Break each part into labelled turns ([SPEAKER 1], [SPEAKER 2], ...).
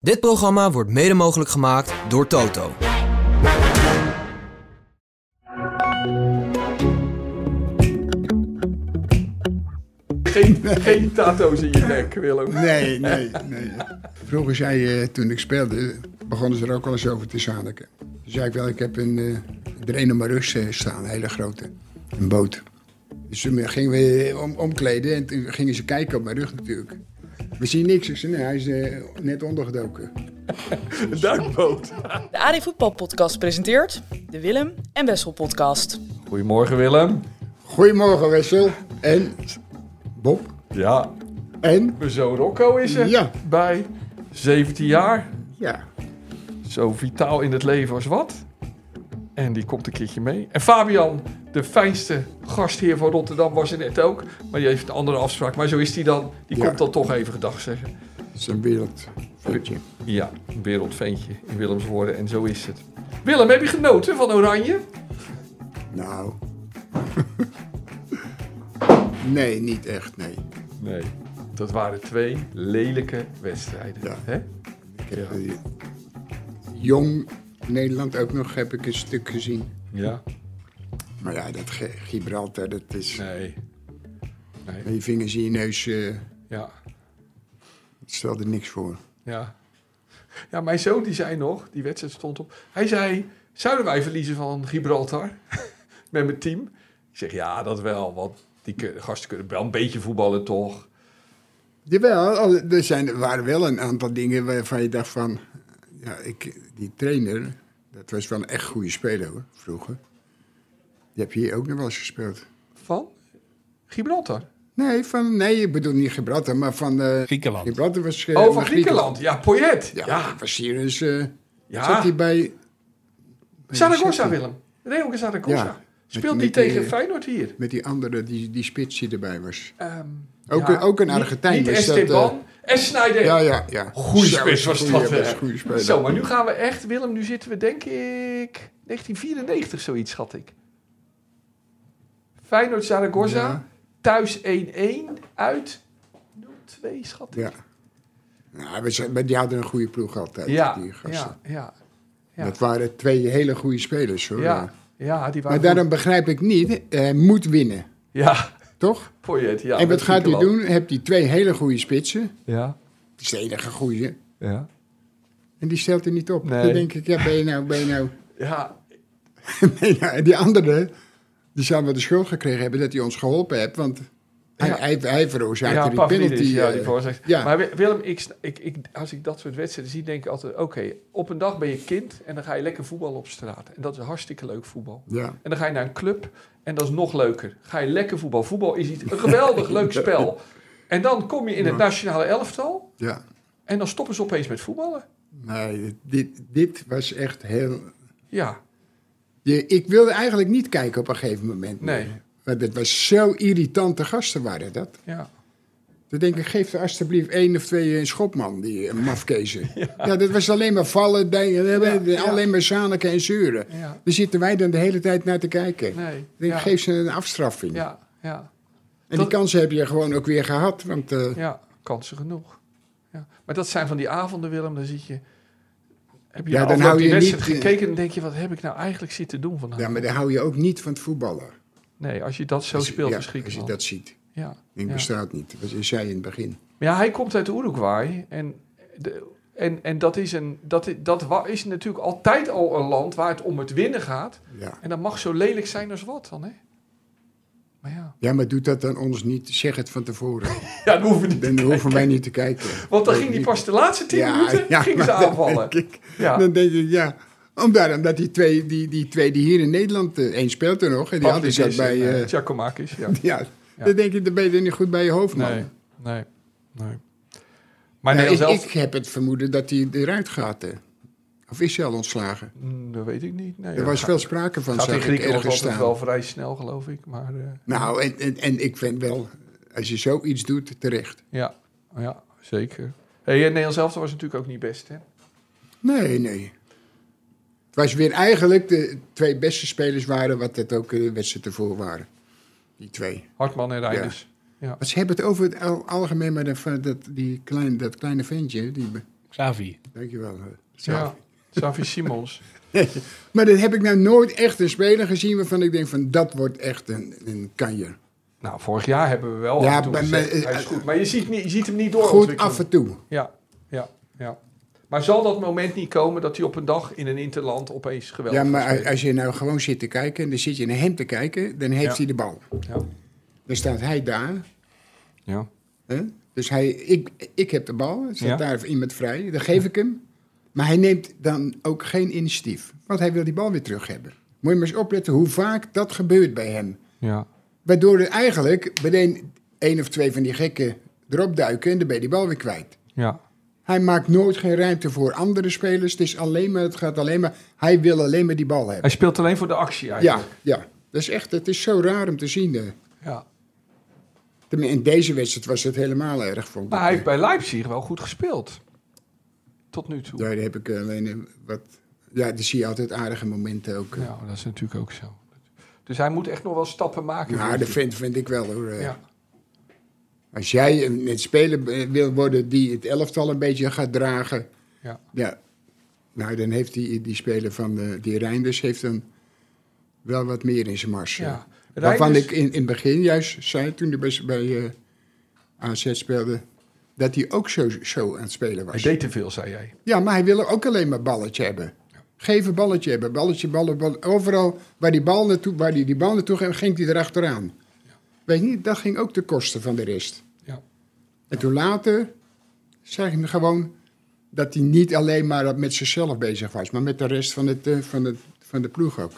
[SPEAKER 1] Dit programma wordt mede mogelijk gemaakt door Toto.
[SPEAKER 2] Geen, geen tato's in je nek, Willem.
[SPEAKER 3] Nee, nee, nee. Vroeger zei je, toen ik speelde, begonnen ze er ook wel eens over te zaniken. Toen zei ik wel, ik heb een eh Drenemarus eh, staan, een hele grote. Een boot. Dus toen gingen we om, omkleden en toen gingen ze kijken op mijn rug natuurlijk. We zien niks. Ik zei, nee, hij is eh, net ondergedoken.
[SPEAKER 2] Een duikboot.
[SPEAKER 4] De AD Voetbal Podcast presenteert de Willem en Wessel Podcast.
[SPEAKER 2] Goedemorgen, Willem.
[SPEAKER 3] Goedemorgen, Wessel. En Bob.
[SPEAKER 2] Ja,
[SPEAKER 3] En?
[SPEAKER 2] mijn zoon Rocco is er
[SPEAKER 3] Ja.
[SPEAKER 2] bij. 17 jaar.
[SPEAKER 3] Ja.
[SPEAKER 2] Zo vitaal in het leven als wat. En die komt een keertje mee. En Fabian, de fijnste gastheer van Rotterdam, was er net ook. Maar die heeft een andere afspraak. Maar zo is die dan. Die
[SPEAKER 3] Ja.
[SPEAKER 2] komt dan toch even gedag zeggen.
[SPEAKER 3] Het is een wereld. Vriendje.
[SPEAKER 2] Ja, een wereldventje in Willems woorden. En zo is het. Willem, heb je genoten van Oranje?
[SPEAKER 3] Nou. nee, niet echt, nee.
[SPEAKER 2] Nee. Dat waren twee lelijke wedstrijden.
[SPEAKER 3] Ja.
[SPEAKER 2] Hè?
[SPEAKER 3] Ik heb
[SPEAKER 2] Ja.
[SPEAKER 3] eh, jong Nederland ook nog heb ik een stuk gezien.
[SPEAKER 2] ja.
[SPEAKER 3] Maar ja, dat Ge- Gibraltar, dat is...
[SPEAKER 2] Nee. Nee.
[SPEAKER 3] Met je vingers in je neus, eh
[SPEAKER 2] Ja.
[SPEAKER 3] stelde niks voor.
[SPEAKER 2] Ja. Ja, mijn zoon die zei nog, die wedstrijd stond op. Hij zei, zouden wij verliezen van Gibraltar? Met mijn team. Ik zeg, ja, dat wel. Want die kun- gasten kunnen wel een beetje voetballen, toch?
[SPEAKER 3] Jawel, al- er zijn, er waren wel een aantal dingen waarvan je dacht van... Ja, ik, die trainer, dat was wel een echt goede speler hoor, vroeger. Die heb je hier ook nog wel eens gespeeld.
[SPEAKER 2] Van Gibraltar.
[SPEAKER 3] Nee, van, nee, ik bedoel niet Gibraltar, maar van... eh,
[SPEAKER 5] Griekenland.
[SPEAKER 3] Gibraltar was... eh,
[SPEAKER 2] oh, van
[SPEAKER 3] maar
[SPEAKER 2] Griekenland. Ja, Poyet.
[SPEAKER 3] Ja,
[SPEAKER 2] Ja.
[SPEAKER 3] was hier eens... eh,
[SPEAKER 2] Ja.
[SPEAKER 3] Zat hij bij... bij
[SPEAKER 2] Zaragoza,
[SPEAKER 3] City.
[SPEAKER 2] Willem. Real Zaragoza.
[SPEAKER 3] Ja. Met-
[SPEAKER 2] Speelt
[SPEAKER 3] met
[SPEAKER 2] die
[SPEAKER 3] die,
[SPEAKER 2] tegen
[SPEAKER 3] eh,
[SPEAKER 2] Feyenoord hier?
[SPEAKER 3] Met die andere, die, die spits die erbij was.
[SPEAKER 2] Ehm,
[SPEAKER 3] Ook
[SPEAKER 2] ja.
[SPEAKER 3] een- ook een
[SPEAKER 2] Niet-
[SPEAKER 3] Argentijn
[SPEAKER 2] Niet
[SPEAKER 3] is dat, eh,
[SPEAKER 2] Esteban. en Sneijder.
[SPEAKER 3] Ja, ja, ja.
[SPEAKER 2] Goeie
[SPEAKER 3] Zo,
[SPEAKER 2] spits was
[SPEAKER 3] goeie,
[SPEAKER 2] dat, hè?
[SPEAKER 3] best goeie speler.
[SPEAKER 2] Zo, maar nu gaan we echt, Willem, nu zitten we denk ik 1994 zoiets, schat ik. Feyenoord Zaragoza,
[SPEAKER 3] Ja.
[SPEAKER 2] thuis 1-1, uit 0-2, schat ik.
[SPEAKER 3] Ja. Nou, we zijn- maar die hadden een goede ploeg altijd,
[SPEAKER 2] ja,
[SPEAKER 3] die gasten.
[SPEAKER 2] ja, ja, ja.
[SPEAKER 3] Dat waren twee hele goede spelers, hoor.
[SPEAKER 2] ja, ja, die waren
[SPEAKER 3] Maar daarom begrijp ik niet, hij moet winnen,
[SPEAKER 2] goed. Ja,
[SPEAKER 3] toch?
[SPEAKER 2] Poyet, ja.
[SPEAKER 3] en
[SPEAKER 2] met
[SPEAKER 3] wat gaat hij
[SPEAKER 2] Griekenland.
[SPEAKER 3] doen? Heb hij twee hele goede spitsen,
[SPEAKER 2] Ja,
[SPEAKER 3] dat is de enige goede,
[SPEAKER 2] ja.
[SPEAKER 3] en die stelt hij niet op.
[SPEAKER 2] Nee.
[SPEAKER 3] Dan denk ik, ja, ben je nou, ben je nou...
[SPEAKER 2] Ja,
[SPEAKER 3] Nee, nou, en die andere, die zou wel de schuld gekregen hebben dat hij ons geholpen heeft, want hij,
[SPEAKER 2] Ja.
[SPEAKER 3] hij, hij veroorzaakte
[SPEAKER 2] ja,
[SPEAKER 3] die
[SPEAKER 2] Pavlidis,
[SPEAKER 3] penalty.
[SPEAKER 2] ja,
[SPEAKER 3] eh,
[SPEAKER 2] die voorzet.
[SPEAKER 3] ja.
[SPEAKER 2] Maar Wi- Willem, ik, sn- ik, ik, als ik dat soort wedstrijden zie, denk ik altijd... oké, op een dag ben je kind en dan ga je lekker voetballen op straat. En dat is hartstikke leuk voetbal.
[SPEAKER 3] ja.
[SPEAKER 2] En dan ga je naar een club en dat is nog leuker. Ga je lekker voetbal. Voetbal is iets, een geweldig leuk spel. En dan kom je in het nationale elftal
[SPEAKER 3] Ja,
[SPEAKER 2] en dan stoppen ze opeens met voetballen.
[SPEAKER 3] nee, dit, dit was echt heel...
[SPEAKER 2] Ja,
[SPEAKER 3] Je, ik wilde eigenlijk niet kijken op een gegeven moment. meer.
[SPEAKER 2] Nee.
[SPEAKER 3] Want het was zo irritante gasten waren dat.
[SPEAKER 2] ja.
[SPEAKER 3] Dan denk ik, geef er alsjeblieft één of twee een schopman, die een mafkezen. Ja. dat was alleen maar vallen, denken,
[SPEAKER 2] Ja, ja.
[SPEAKER 3] alleen maar zaniken en zeuren.
[SPEAKER 2] Ja.
[SPEAKER 3] Daar zitten wij dan de hele tijd naar te kijken.
[SPEAKER 2] Nee.
[SPEAKER 3] Ik denk,
[SPEAKER 2] Ja.
[SPEAKER 3] Geef ze een afstraffing.
[SPEAKER 2] Ja, ja,
[SPEAKER 3] En
[SPEAKER 2] Dat-
[SPEAKER 3] die kansen heb je gewoon ook weer gehad. Want eh,
[SPEAKER 2] ja. Kansen genoeg. Ja. Maar dat zijn van die avonden, Willem, dan zit je... Heb je
[SPEAKER 3] Ja,
[SPEAKER 2] ja,
[SPEAKER 3] dan hou je
[SPEAKER 2] wedstrijd
[SPEAKER 3] niet, eh,
[SPEAKER 2] gekeken en dan denk je... wat heb ik nou eigenlijk zitten doen vandaag?
[SPEAKER 3] ja, maar daar hou je ook niet van het voetballen.
[SPEAKER 2] Nee, als je dat zo
[SPEAKER 3] Als je-
[SPEAKER 2] speelt,
[SPEAKER 3] ja,
[SPEAKER 2] dan schrik
[SPEAKER 3] Als je
[SPEAKER 2] je
[SPEAKER 3] dat ziet.
[SPEAKER 2] Ja,
[SPEAKER 3] Ik denk,
[SPEAKER 2] ja.
[SPEAKER 3] bestaat niet. Dat zei je in het begin.
[SPEAKER 2] Maar ja, hij komt uit Uruguay. En, de, en, en dat, is een, dat, is, dat wa- is natuurlijk altijd al een land waar het om het winnen gaat.
[SPEAKER 3] Ja.
[SPEAKER 2] En dat mag zo lelijk zijn als wat dan, hè? Maar ja.
[SPEAKER 3] ja, maar doet dat dan ons niet. Zeg het van tevoren.
[SPEAKER 2] Ja, dat hoeven we niet.
[SPEAKER 3] Dan hoeven wij niet te kijken.
[SPEAKER 2] Want dan ging die pas de laatste tien minuten ging ze
[SPEAKER 3] maar dan
[SPEAKER 2] aanvallen.
[SPEAKER 3] denk ik-
[SPEAKER 2] Ja.
[SPEAKER 3] Dan denk ik, ja. Omdat, omdat die, twee, die, die twee die hier in Nederland, eh, één speelt er nog. En die andere zat
[SPEAKER 2] Pavlidis
[SPEAKER 3] bij...
[SPEAKER 2] en, eh,
[SPEAKER 3] eh,
[SPEAKER 2] Giacomakis, ja.
[SPEAKER 3] ja.
[SPEAKER 2] Ja.
[SPEAKER 3] dan denk ik, dan ben je er niet goed bij je hoofd, man.
[SPEAKER 2] Nee, nee, nee. Maar
[SPEAKER 3] Nou, ik,
[SPEAKER 2] Nederland zelf...
[SPEAKER 3] ik heb het vermoeden dat hij eruit gaat. eh. Of is hij al ontslagen?
[SPEAKER 2] Mm, dat weet ik niet. Nee,
[SPEAKER 3] er was veel sprake van,
[SPEAKER 2] Gaat in
[SPEAKER 3] zag ik
[SPEAKER 2] Griekenland
[SPEAKER 3] ergens
[SPEAKER 2] altijd
[SPEAKER 3] staan.
[SPEAKER 2] wel vrij snel, geloof ik. Maar eh,
[SPEAKER 3] Nou, en, en, en ik vind wel, als je zoiets doet, terecht.
[SPEAKER 2] ja, ja, zeker. Hey, en Nederland zelf was natuurlijk ook niet best, hè?
[SPEAKER 3] Nee, nee. Het was weer eigenlijk de twee beste spelers waren, wat het ook eh, de wedstrijd ervoor waren. Die twee.
[SPEAKER 2] Hartman en Reinders.
[SPEAKER 3] Maar ze hebben het over het al- algemeen, maar dat, van dat, die klein, dat kleine ventje, die, be-
[SPEAKER 5] Xavi.
[SPEAKER 3] Dankjewel. eh,
[SPEAKER 2] Ja. Xavi Simons.
[SPEAKER 3] Maar dat heb ik nou nooit echt een speler gezien waarvan ik denk van dat wordt echt een, een kanjer.
[SPEAKER 2] Nou, vorig jaar hebben we wel
[SPEAKER 3] Ja,
[SPEAKER 2] af en toe
[SPEAKER 3] maar-
[SPEAKER 2] gezegd,
[SPEAKER 3] maar-
[SPEAKER 2] hij is goed. Maar je ziet, niet, je ziet hem niet door.
[SPEAKER 3] Goed af en toe.
[SPEAKER 2] Ja, ja, ja. Maar zal dat moment niet komen dat hij op een dag in een interland opeens geweldig
[SPEAKER 3] Ja,
[SPEAKER 2] gaat
[SPEAKER 3] maar
[SPEAKER 2] spelen?
[SPEAKER 3] als je nou gewoon zit te kijken en dan zit je naar hem te kijken, dan heeft
[SPEAKER 2] Ja.
[SPEAKER 3] hij de bal.
[SPEAKER 2] Ja.
[SPEAKER 3] Dan staat hij daar.
[SPEAKER 2] Ja.
[SPEAKER 3] Hè? Dus hij, ik, ik heb de bal, er staat
[SPEAKER 2] Ja.
[SPEAKER 3] daar iemand vrij, dan geef ik hem. Maar hij neemt dan ook geen initiatief, want hij wil die bal weer terug hebben. Moet je maar eens opletten hoe vaak dat gebeurt bij hem.
[SPEAKER 2] Ja.
[SPEAKER 3] Waardoor er eigenlijk meteen één of twee van die gekken erop duiken en dan ben je die bal weer kwijt.
[SPEAKER 2] Ja.
[SPEAKER 3] Hij maakt nooit geen ruimte voor andere spelers. Het, is alleen maar, het gaat alleen maar, hij wil alleen maar die bal hebben.
[SPEAKER 2] Hij speelt alleen voor de actie
[SPEAKER 3] Ja,
[SPEAKER 2] eigenlijk.
[SPEAKER 3] ja. Dat is echt, het is zo raar om te zien. eh.
[SPEAKER 2] Ja.
[SPEAKER 3] Tenmin- In deze wedstrijd was het helemaal erg, vond ik.
[SPEAKER 2] Maar hij heeft bij Leipzig wel goed gespeeld. Tot nu toe.
[SPEAKER 3] Daar heb ik alleen eh, wat... Ja, daar zie je altijd aardige momenten ook. eh.
[SPEAKER 2] Ja, dat is natuurlijk ook zo. Dus hij moet echt nog wel stappen maken.
[SPEAKER 3] Maar
[SPEAKER 2] vind
[SPEAKER 3] dat
[SPEAKER 2] ik.
[SPEAKER 3] Nou, vind, vind ik wel, hoor. eh.
[SPEAKER 2] Ja.
[SPEAKER 3] Als jij een een speler eh, wil worden die het elftal een beetje gaat dragen...
[SPEAKER 2] Ja.
[SPEAKER 3] Ja. Nou, dan heeft die, die speler van eh, die Reinders heeft dan wel wat meer in zijn mars. eh.
[SPEAKER 2] ja.
[SPEAKER 3] Waarvan
[SPEAKER 2] Reinders-
[SPEAKER 3] ik in, in het begin juist zei, toen hij bij, bij eh, AZ speelde, dat hij ook zo, zo aan het spelen
[SPEAKER 2] Hij
[SPEAKER 3] was.
[SPEAKER 2] deed te veel, zei jij.
[SPEAKER 3] Ja, maar hij wil ook alleen maar balletje hebben. Geef een balletje hebben, balletje, ballen, ballen. Overal waar die bal naartoe, waar die, die bal naartoe ging, ging hij erachteraan. Weet je niet, dat ging ook ten koste van de rest.
[SPEAKER 2] Ja.
[SPEAKER 3] En toen later zag ik hem gewoon dat hij niet alleen maar met zichzelf bezig was, maar met de rest van, het, eh, van, het, van de ploeg ook.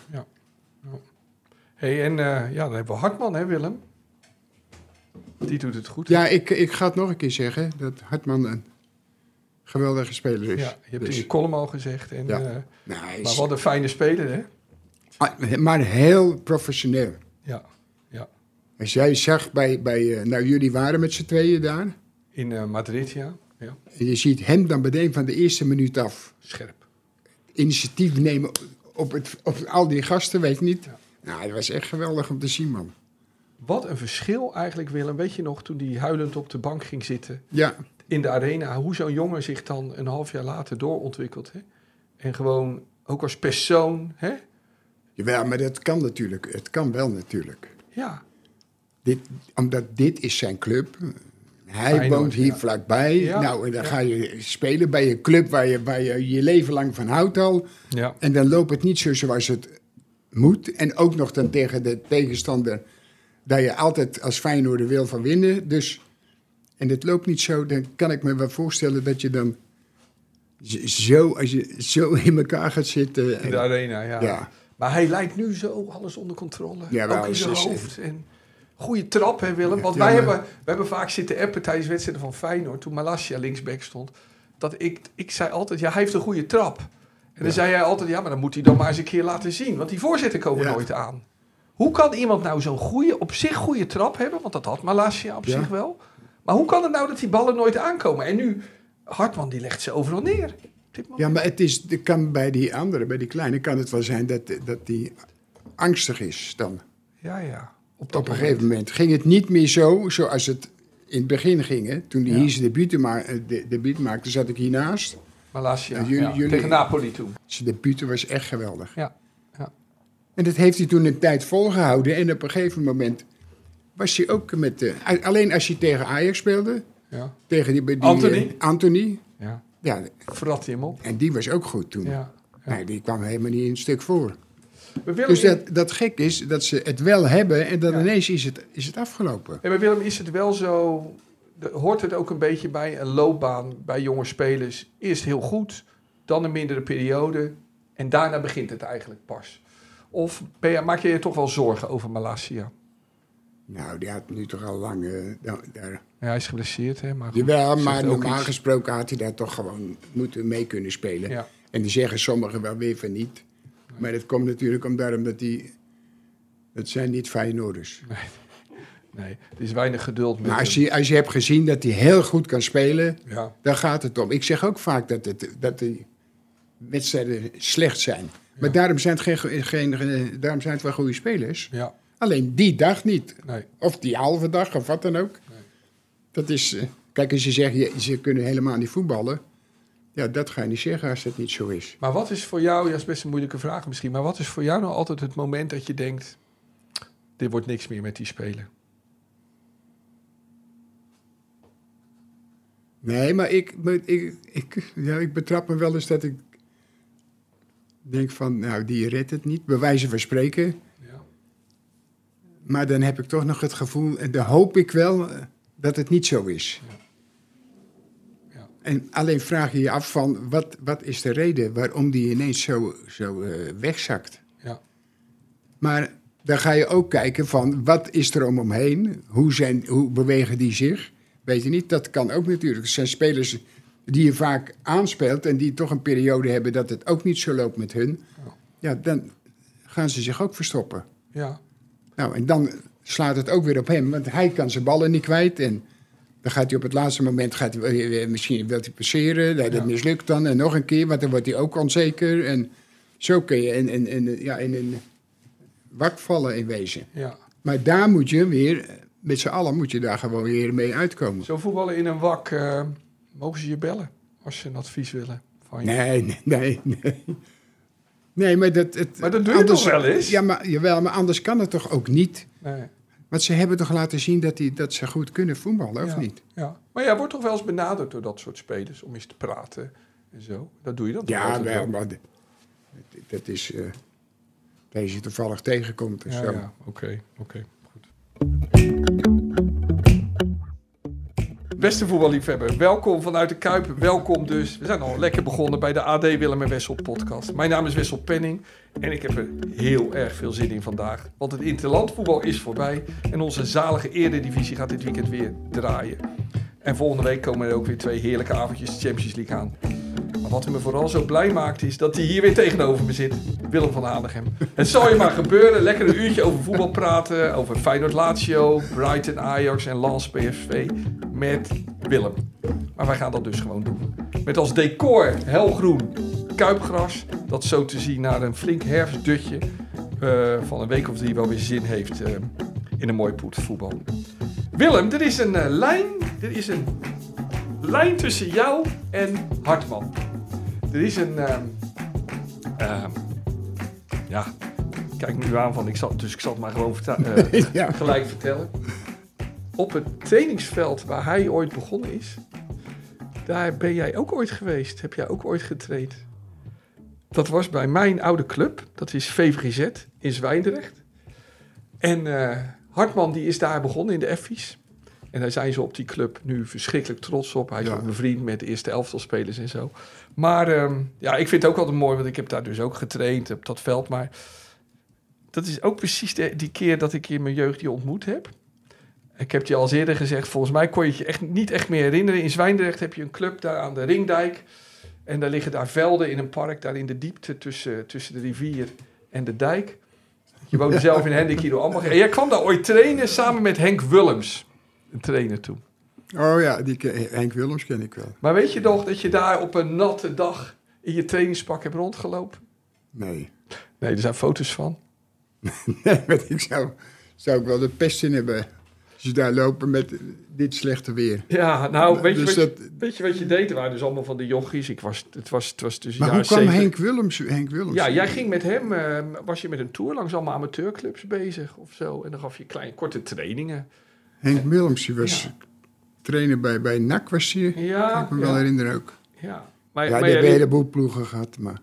[SPEAKER 2] Hey, en eh, ja, dan hebben we Hartman, hè Willem? Die doet het goed.
[SPEAKER 3] Ja, ik, ik ga het nog een keer zeggen, dat Hartman een geweldige speler is.
[SPEAKER 2] Ja, je hebt
[SPEAKER 3] Dus-
[SPEAKER 2] in je column al gezegd. En,
[SPEAKER 3] Ja.
[SPEAKER 2] eh,
[SPEAKER 3] Nou, hij
[SPEAKER 2] maar
[SPEAKER 3] is-
[SPEAKER 2] wat een fijne speler, hè?
[SPEAKER 3] ah, maar heel professioneel.
[SPEAKER 2] Ja, ja.
[SPEAKER 3] Als jij zag bij, bij eh, nou jullie waren met z'n tweeën daar.
[SPEAKER 2] In eh, Madrid, ja. ja.
[SPEAKER 3] En je ziet hem dan meteen van de eerste minuut af
[SPEAKER 2] Scherp.
[SPEAKER 3] initiatief nemen op, het, op al die gasten, weet je niet. Nou, dat was echt geweldig om te zien, man.
[SPEAKER 2] Wat een verschil eigenlijk, Willem. Weet je nog, toen die huilend op de bank ging zitten
[SPEAKER 3] Ja,
[SPEAKER 2] in de arena, hoe zo'n jongen zich dan een half jaar later doorontwikkelt, hè? En gewoon, ook als persoon, hè?
[SPEAKER 3] jawel, maar dat kan natuurlijk. Het kan wel natuurlijk.
[SPEAKER 2] Ja,
[SPEAKER 3] Dit, omdat dit is zijn club. Hij
[SPEAKER 2] Feyenoord,
[SPEAKER 3] woont hier
[SPEAKER 2] ja.
[SPEAKER 3] vlakbij.
[SPEAKER 2] Ja,
[SPEAKER 3] Nou, en dan
[SPEAKER 2] ja.
[SPEAKER 3] ga je spelen bij een club waar je, waar je je leven lang van houdt al.
[SPEAKER 2] ja,
[SPEAKER 3] En dan loopt het niet zo zoals het moet. En ook nog dan tegen de tegenstander dat je altijd als Feyenoorder wil van winnen. Dus, en het loopt niet zo, dan kan ik me wel voorstellen dat je dan z- zo, als je zo in elkaar gaat zitten.
[SPEAKER 2] in de arena, ja.
[SPEAKER 3] Ja.
[SPEAKER 2] Maar hij lijkt nu zo alles onder controle.
[SPEAKER 3] Ja, wel,
[SPEAKER 2] ook in zijn
[SPEAKER 3] is- is-
[SPEAKER 2] hoofd. En goede trap, hè Willem? Want
[SPEAKER 3] Ja,
[SPEAKER 2] wij
[SPEAKER 3] maar-
[SPEAKER 2] hebben, we hebben vaak zitten appen tijdens wedstrijden van Feyenoord... toen Malasia linksback stond. Dat ik, ik zei altijd, ja, hij heeft een goede trap. En dan zei hij altijd, ja, maar dan moet hij dan maar eens een keer laten zien. Want die voorzetten komen
[SPEAKER 3] Ja.
[SPEAKER 2] nooit aan. Hoe kan iemand nou zo'n goede, op zich goede trap hebben? Want dat had Malasia op
[SPEAKER 3] Ja.
[SPEAKER 2] zich wel. Maar hoe kan het nou dat die ballen nooit aankomen? En nu, Hartman, die legt ze overal neer. Op dit moment.
[SPEAKER 3] Ja, maar het is, het kan bij die andere, bij die kleine, kan het wel zijn dat, dat die angstig is dan.
[SPEAKER 2] Ja, ja. dat
[SPEAKER 3] Op een gegeven moment ging het niet meer zo zoals het in het begin ging. Hè? Toen hij
[SPEAKER 2] Ja.
[SPEAKER 3] hier zijn debuut, ma- eh, de, debuut maakte, zat ik hiernaast.
[SPEAKER 2] Malasia,
[SPEAKER 3] Ja, jullie-
[SPEAKER 2] ja,
[SPEAKER 3] jullie-
[SPEAKER 2] tegen Napoli toen.
[SPEAKER 3] Zijn debuut was echt geweldig.
[SPEAKER 2] Ja, ja.
[SPEAKER 3] En dat heeft hij toen een tijd volgehouden. En op een gegeven moment was hij ook met... De, a- alleen als hij tegen Ajax speelde.
[SPEAKER 2] Ja,
[SPEAKER 3] Tegen die, die,
[SPEAKER 2] Anthony.
[SPEAKER 3] eh, Anthony.
[SPEAKER 2] ja.
[SPEAKER 3] Ja,
[SPEAKER 2] Verrat hij hem op.
[SPEAKER 3] en die was ook goed toen.
[SPEAKER 2] Ja.
[SPEAKER 3] Nee, die kwam helemaal niet in een stuk voor.
[SPEAKER 2] Maar Willem,
[SPEAKER 3] Dus dat, dat gek is dat ze het wel hebben en dan
[SPEAKER 2] Ja.
[SPEAKER 3] ineens is het, is het afgelopen.
[SPEAKER 2] Ja, maar Willem, is het wel zo... de- hoort het ook een beetje bij een loopbaan bij jonge spelers? Eerst heel goed, dan een mindere periode... en daarna begint het eigenlijk pas. Of ben je, maak je je toch wel zorgen over Malasia?
[SPEAKER 3] Nou, die had nu toch al lang... eh, nou, daar.
[SPEAKER 2] Ja, hij is geblesseerd, hè? Maar goed,
[SPEAKER 3] Jawel,
[SPEAKER 2] zegt
[SPEAKER 3] maar
[SPEAKER 2] ook
[SPEAKER 3] normaal
[SPEAKER 2] iets.
[SPEAKER 3] gesproken had hij daar toch gewoon moeten mee kunnen spelen.
[SPEAKER 2] Ja,
[SPEAKER 3] En die zeggen sommigen wel weer van niet. Maar dat komt natuurlijk om daarom dat die... Het zijn niet Feyenoorders.
[SPEAKER 2] nee. Er is weinig geduld met
[SPEAKER 3] Maar als
[SPEAKER 2] hem.
[SPEAKER 3] je, als je hebt gezien dat hij heel goed kan spelen,
[SPEAKER 2] Ja,
[SPEAKER 3] dan gaat het om. Ik zeg ook vaak dat, het, dat de wedstrijden slecht zijn. Maar daarom zijn, het geen, go- geen, eh, daarom zijn het wel goede spelers.
[SPEAKER 2] ja,
[SPEAKER 3] Alleen die dag niet.
[SPEAKER 2] nee.
[SPEAKER 3] Of die halve dag, of wat dan ook. Dat is... eh, Kijk, als je zegt, je, ze kunnen helemaal niet voetballen... Ja, dat ga je niet zeggen als dat niet zo is.
[SPEAKER 2] Maar wat is voor jou, ja, is best een moeilijke vraag misschien, maar wat is voor jou nou altijd het moment dat je denkt, dit wordt niks meer met die speler?
[SPEAKER 3] Nee, maar ik, maar ik, ik, ja, ik betrap me wel eens dat ik denk van, nou, die redt het niet, bij wijze van spreken.
[SPEAKER 2] Ja.
[SPEAKER 3] Maar dan heb ik toch nog het gevoel, en dan hoop ik wel, eh, dat het niet zo is.
[SPEAKER 2] Ja.
[SPEAKER 3] En alleen vraag je je af van, wat, wat is de reden waarom die ineens zo, zo eh, wegzakt?
[SPEAKER 2] Ja.
[SPEAKER 3] Maar dan ga je ook kijken van, wat is er om hem heen? Hoe, zijn, hoe bewegen die zich? Weet je niet, dat kan ook natuurlijk. Het zijn spelers die je vaak aanspeelt en die toch een periode hebben dat het ook niet zo loopt met hun.
[SPEAKER 2] Ja.
[SPEAKER 3] Ja, dan gaan ze zich ook verstoppen.
[SPEAKER 2] Ja.
[SPEAKER 3] Nou, en dan slaat het ook weer op hem, want hij kan zijn ballen niet kwijt. En dan gaat hij op het laatste moment, gaat hij, weer- weer- misschien wil hij passeren, dat dat
[SPEAKER 2] Ja.
[SPEAKER 3] mislukt dan. En nog een keer, want dan wordt hij ook onzeker. En zo kun je in, in, in, ja, in een wak vallen in wezen.
[SPEAKER 2] ja.
[SPEAKER 3] Maar daar moet je weer, eh, met z'n allen moet je daar gewoon weer mee uitkomen.
[SPEAKER 2] Zo voetballen in een wak, eh, mogen ze je bellen als ze een advies willen van je?
[SPEAKER 3] Nee, nee, nee. nee. Nee, maar dat... Het,
[SPEAKER 2] Maar dat doe je toch wel eens?
[SPEAKER 3] Ja, maar, jawel, maar anders kan het toch ook niet?
[SPEAKER 2] Nee.
[SPEAKER 3] Want ze hebben toch laten zien dat, die, dat ze goed kunnen voetballen, of
[SPEAKER 2] Ja.
[SPEAKER 3] niet?
[SPEAKER 2] Ja. Maar jij wordt toch wel eens benaderd door dat soort spelers om eens te praten en zo? Dat doe je dan toch
[SPEAKER 3] Ja,
[SPEAKER 2] altijd
[SPEAKER 3] wel,
[SPEAKER 2] wel?
[SPEAKER 3] maar d- dat- dat is. eh dat je ze toevallig tegenkomt of
[SPEAKER 2] Ja,
[SPEAKER 3] zo.
[SPEAKER 2] ja. Oké, oké. Goed. Beste voetballiefhebber, welkom vanuit de Kuip. Welkom dus. We zijn al lekker begonnen bij de AD Willem en Wessel podcast. Mijn naam is Wessel Penning en ik heb er heel erg veel zin in vandaag. Want het interlandvoetbal is voorbij en onze zalige eredivisie gaat dit weekend weer draaien. En volgende week komen er ook weer twee heerlijke avondjes Champions League aan. Maar wat me vooral zo blij maakt is dat hij hier weer tegenover me zit. Willem van Hanegem. Het zal je maar gebeuren. Lekker een uurtje over voetbal praten. Over Feyenoord Lazio, Brighton Ajax en Lans PSV. Met Willem. Maar wij gaan dat dus gewoon doen. Met als decor helgroen kuipgras. Dat zo te zien naar een flink herfstdutje. eh, van een week of drie wel weer zin heeft eh, in een mooi poet voetbal. Willem, er is een eh, lijn. Er is een lijn tussen jou en Hartman. Er is een. ehm, ehm, ja, kijk nu aan van ik zal, dus ik zal het maar gewoon verta- eh,
[SPEAKER 3] Ja.
[SPEAKER 2] gelijk vertellen. Op het trainingsveld waar hij ooit begonnen is, daar ben jij ook ooit geweest. Heb jij ook ooit getraind? Dat was bij mijn oude club, dat is VVGZ in Zwijndrecht. En eh, Hartman die is daar begonnen in de Effies. En daar zijn ze op die club nu verschrikkelijk trots op. Hij is
[SPEAKER 3] Ja.
[SPEAKER 2] ook bevriend met de eerste elftalspelers en zo. Maar ehm, ja, ik vind het ook altijd mooi, want ik heb daar dus ook getraind op dat veld. Maar dat is ook precies de- die keer dat ik je in mijn jeugd je ontmoet heb. Ik heb je al eens eerder gezegd, volgens mij kon je het je echt, niet echt meer herinneren. In Zwijndrecht heb je een club daar aan de Ringdijk. En daar liggen daar velden in een park, daar in de diepte tussen, tussen de rivier en de dijk. Je woonde zelf in Hendekido allemaal. En jij kwam daar ooit trainen samen met Henk Willems, een trainer toen.
[SPEAKER 3] Oh ja, die ken- Henk Willems ken ik wel.
[SPEAKER 2] Maar weet je nog dat je daar op een natte dag in je trainingspak hebt rondgelopen?
[SPEAKER 3] Nee.
[SPEAKER 2] Nee, er zijn foto's van.
[SPEAKER 3] nee want ik zou, zou ik wel de pest in hebben. Als je daar lopen met dit slechte weer.
[SPEAKER 2] Ja, nou, weet je,
[SPEAKER 3] Dus
[SPEAKER 2] wat,
[SPEAKER 3] dat-
[SPEAKER 2] je, weet je wat je deed? Er waren dus allemaal van de jochies. Ik was, het, was, het was dus tussen
[SPEAKER 3] Maar
[SPEAKER 2] jaren
[SPEAKER 3] hoe kwam
[SPEAKER 2] 70.
[SPEAKER 3] Henk Willems? Henk Willems?
[SPEAKER 2] Ja, jij ging met hem, eh, was je met een tour langs allemaal amateurclubs bezig of zo. En dan gaf je kleine, korte trainingen.
[SPEAKER 3] Henk Willems, die was
[SPEAKER 2] Ja.
[SPEAKER 3] trainer bij, bij NAC, was hij.
[SPEAKER 2] Ja,
[SPEAKER 3] kan ik me wel
[SPEAKER 2] ja,
[SPEAKER 3] herinneren ook.
[SPEAKER 2] ja. Maar, maar jij
[SPEAKER 3] ja, die hebben een
[SPEAKER 2] liep-
[SPEAKER 3] heleboel ploegen gehad. Maar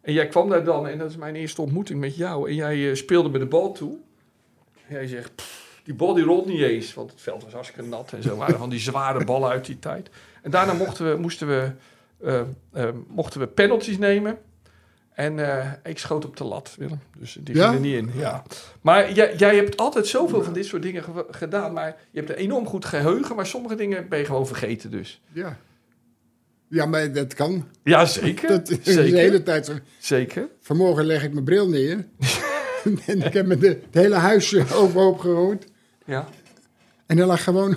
[SPEAKER 2] En jij kwam daar dan, en dat is mijn eerste ontmoeting met jou. En jij eh, speelde me de bal toe. En jij zegt, "Pff, die bal die rolt niet eens. Want het veld was hartstikke nat en zo. waren van die zware ballen uit die tijd. En daarna mochten we, moesten we, eh, eh, mochten we penalties nemen. En eh, ik schoot op de lat, Willem. Dus die
[SPEAKER 3] Ja?
[SPEAKER 2] ging er niet in. Ja. Maar jij, jij hebt altijd zoveel van dit soort dingen ge- gedaan. Maar je hebt een enorm goed geheugen. Maar sommige dingen ben je gewoon vergeten dus.
[SPEAKER 3] ja. Ja, maar dat kan.
[SPEAKER 2] Ja, zeker.
[SPEAKER 3] Dat is de hele
[SPEAKER 2] zeker.
[SPEAKER 3] tijd zo.
[SPEAKER 2] zeker.
[SPEAKER 3] Vanmorgen leg ik mijn bril neer. en ik heb me de, het hele huis eh, overhoop gegooid.
[SPEAKER 2] Ja.
[SPEAKER 3] En hij lag gewoon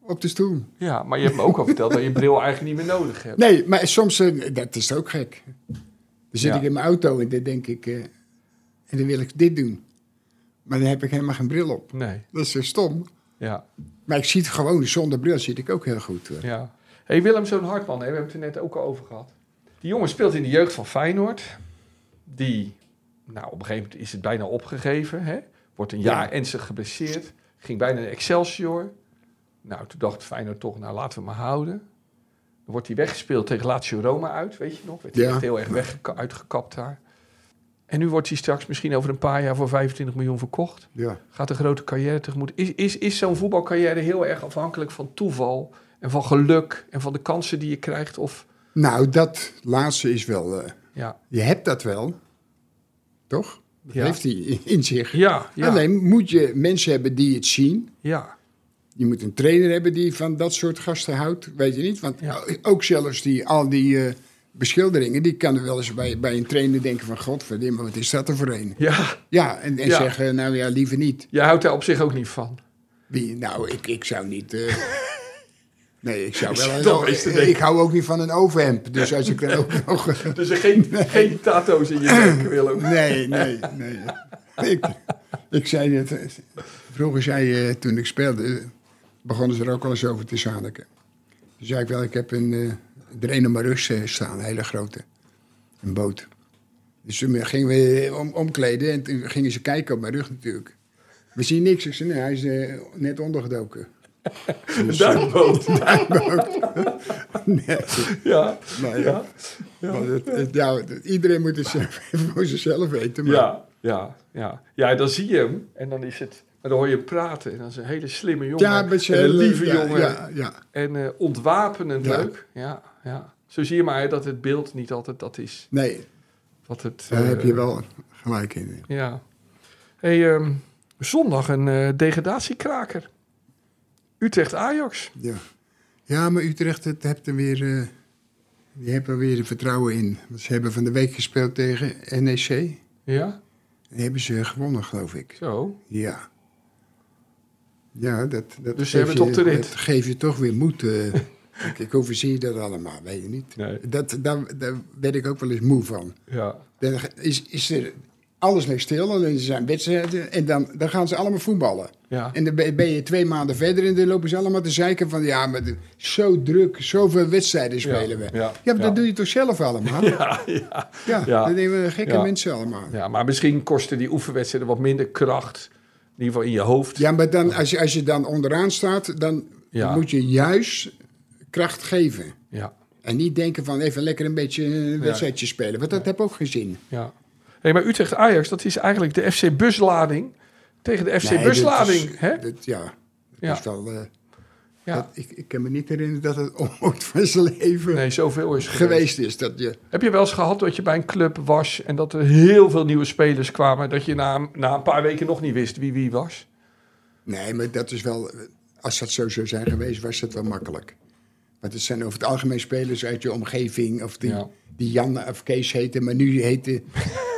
[SPEAKER 3] op de stoel.
[SPEAKER 2] Ja, maar je hebt me ook al verteld dat je bril eigenlijk niet meer nodig hebt.
[SPEAKER 3] Nee, maar soms, eh, dat is ook gek. Dan zit
[SPEAKER 2] Ja.
[SPEAKER 3] ik in mijn auto en dan denk ik, eh, en dan wil ik dit doen. Maar dan heb ik helemaal geen bril op.
[SPEAKER 2] Nee,
[SPEAKER 3] Dat is zo stom.
[SPEAKER 2] ja,
[SPEAKER 3] Maar ik zie het gewoon, zonder bril zit ik ook heel goed. hoor.
[SPEAKER 2] ja. hey, Willem zo'n Hartman, hè, we hebben het er net ook al over gehad. Die jongen speelt in de jeugd van Feyenoord. Die, nou op een gegeven moment is het bijna opgegeven. Hè? Wordt een jaar ernstig geblesseerd. Ging bijna naar Excelsior. Nou, toen dacht Feyenoord toch, nou laten we hem maar houden. Dan wordt hij weggespeeld tegen Lazio Roma uit, weet je nog? Werd hij
[SPEAKER 3] Ja.
[SPEAKER 2] echt heel erg weg uitgekapt daar. En nu wordt hij straks misschien over een paar jaar voor 25 miljoen verkocht
[SPEAKER 3] Ja.
[SPEAKER 2] gaat een grote carrière tegemoet. Is, is, is zo'n voetbalcarrière heel erg afhankelijk van toeval en van geluk en van de kansen die je krijgt? Of
[SPEAKER 3] Nou, dat laatste is wel. eh,
[SPEAKER 2] ja,
[SPEAKER 3] je hebt dat wel, toch? Dat
[SPEAKER 2] Ja.
[SPEAKER 3] heeft hij in zich.
[SPEAKER 2] ja, ja,
[SPEAKER 3] Alleen moet je mensen hebben die het zien.
[SPEAKER 2] ja,
[SPEAKER 3] Je moet een trainer hebben die van dat soort gasten houdt, weet je niet. Want
[SPEAKER 2] Ja.
[SPEAKER 3] ook zelfs die, al die eh, beschilderingen, die kan er wel eens bij, bij een trainer denken van... Godverdomme, wat is dat er voor een?
[SPEAKER 2] ja.
[SPEAKER 3] Ja, en, en
[SPEAKER 2] Ja.
[SPEAKER 3] zeggen, nou ja, liever niet.
[SPEAKER 2] Jij houdt daar op zich ook niet van.
[SPEAKER 3] Wie, nou, ik, ik zou niet... eh, nee, ik zou
[SPEAKER 2] zit
[SPEAKER 3] wel...
[SPEAKER 2] toch eens te
[SPEAKER 3] ik,
[SPEAKER 2] denken.
[SPEAKER 3] ik hou ook niet van een overhemp, dus als ik dan ook nog...
[SPEAKER 2] Dus er geen, geen tato's in je nek, Willem.
[SPEAKER 3] Nee, nee, nee. Ik, ik zei het. eh, Vroeger zei je, toen ik speelde, eh, begonnen ze er ook al eens over te zaniken. Toen zei ik wel, ik heb een eh, de Reno Marus eh, staan, een hele grote. Een boot. Dus toen gingen we om, omkleden en toen gingen ze kijken op mijn rug natuurlijk. We zien niks. Ik zei, nee, hij is eh, net ondergedoken. Dus, eh,
[SPEAKER 2] Duikboot.
[SPEAKER 3] nee,
[SPEAKER 2] Ja,
[SPEAKER 3] nou ja.
[SPEAKER 2] ja,
[SPEAKER 3] Maar het- het- ja, het- iedereen moet het zelf, voor zichzelf weten. Maar
[SPEAKER 2] ja, ja, ja. Ja, dan zie je hem en dan is het... Maar dan hoor je hem praten en dat is een hele slimme jongen.
[SPEAKER 3] Ja, met z'n
[SPEAKER 2] en een
[SPEAKER 3] allen,
[SPEAKER 2] Eh, lieve
[SPEAKER 3] ja,
[SPEAKER 2] jongen.
[SPEAKER 3] Ja, ja.
[SPEAKER 2] En eh, ontwapenend
[SPEAKER 3] Ja.
[SPEAKER 2] leuk. Ja, ja. Zo zie je maar hè, dat het beeld niet altijd dat is.
[SPEAKER 3] Nee,
[SPEAKER 2] Wat het,
[SPEAKER 3] daar
[SPEAKER 2] eh,
[SPEAKER 3] heb je wel gelijk in.
[SPEAKER 2] Ja. Hey, ehm, zondag een eh, degradatiekraker. Utrecht-Ajax.
[SPEAKER 3] Ja, ja maar Utrecht het hebt er weer, eh, die hebben er weer vertrouwen in. Want ze hebben van de week gespeeld tegen NEC.
[SPEAKER 2] Ja,
[SPEAKER 3] En hebben ze gewonnen, geloof ik.
[SPEAKER 2] zo.
[SPEAKER 3] Ja. Ja, dat, dat
[SPEAKER 2] Dus ze
[SPEAKER 3] geeft
[SPEAKER 2] hebben het
[SPEAKER 3] je-
[SPEAKER 2] op de rit.
[SPEAKER 3] Dat geeft je toch weer moed. eh. Kijk, hoe zie je dat allemaal? Weet je niet.
[SPEAKER 2] Nee.
[SPEAKER 3] Dat, daar, daar werd ik ook wel eens moe van.
[SPEAKER 2] Ja.
[SPEAKER 3] Dan is, is er, alles ligt stil, alleen ze zijn wedstrijden. En dan, dan gaan ze allemaal voetballen.
[SPEAKER 2] Ja.
[SPEAKER 3] En dan ben ben je twee maanden verder en dan lopen ze allemaal te zeiken van... ja, maar de- zo druk, zoveel wedstrijden spelen we.
[SPEAKER 2] ja,
[SPEAKER 3] Ja, maar
[SPEAKER 2] ja.
[SPEAKER 3] dat doe je toch zelf allemaal? Ja,
[SPEAKER 2] Ja, ja. ja.
[SPEAKER 3] dat nemen we gekke
[SPEAKER 2] Ja.
[SPEAKER 3] mensen allemaal. Ja,
[SPEAKER 2] ja, maar misschien kosten die oefenwedstrijden wat minder kracht. In ieder geval in je hoofd.
[SPEAKER 3] maar dan, als, je, als je dan onderaan staat, dan
[SPEAKER 2] Ja.
[SPEAKER 3] moet je juist kracht geven.
[SPEAKER 2] Ja.
[SPEAKER 3] En niet denken van even lekker een beetje een wedstrijdje spelen. Want dat heb ik ook gezien.
[SPEAKER 2] ja. Hey, maar Utrecht-Ajax, dat is eigenlijk de FC Buslading tegen de FC
[SPEAKER 3] Nee, dat is-
[SPEAKER 2] Buslading. hè?
[SPEAKER 3] dat- ja, dat
[SPEAKER 2] Ja.
[SPEAKER 3] is wel... eh,
[SPEAKER 2] Ja.
[SPEAKER 3] dat- ik, ik kan me niet herinneren dat het ooit van zijn leven
[SPEAKER 2] Nee, zoveel is geweest.
[SPEAKER 3] geweest is. Dat je,
[SPEAKER 2] Heb je wel eens gehad dat je bij een club was en dat er heel veel nieuwe spelers kwamen... dat je na, na een paar weken nog niet wist wie wie was?
[SPEAKER 3] Nee, maar dat is wel. Als dat zo zou zijn geweest, was dat wel makkelijk. Want het zijn over het algemeen spelers uit je omgeving. Of die,
[SPEAKER 2] Ja.
[SPEAKER 3] die Jan of Kees heten, maar nu heten.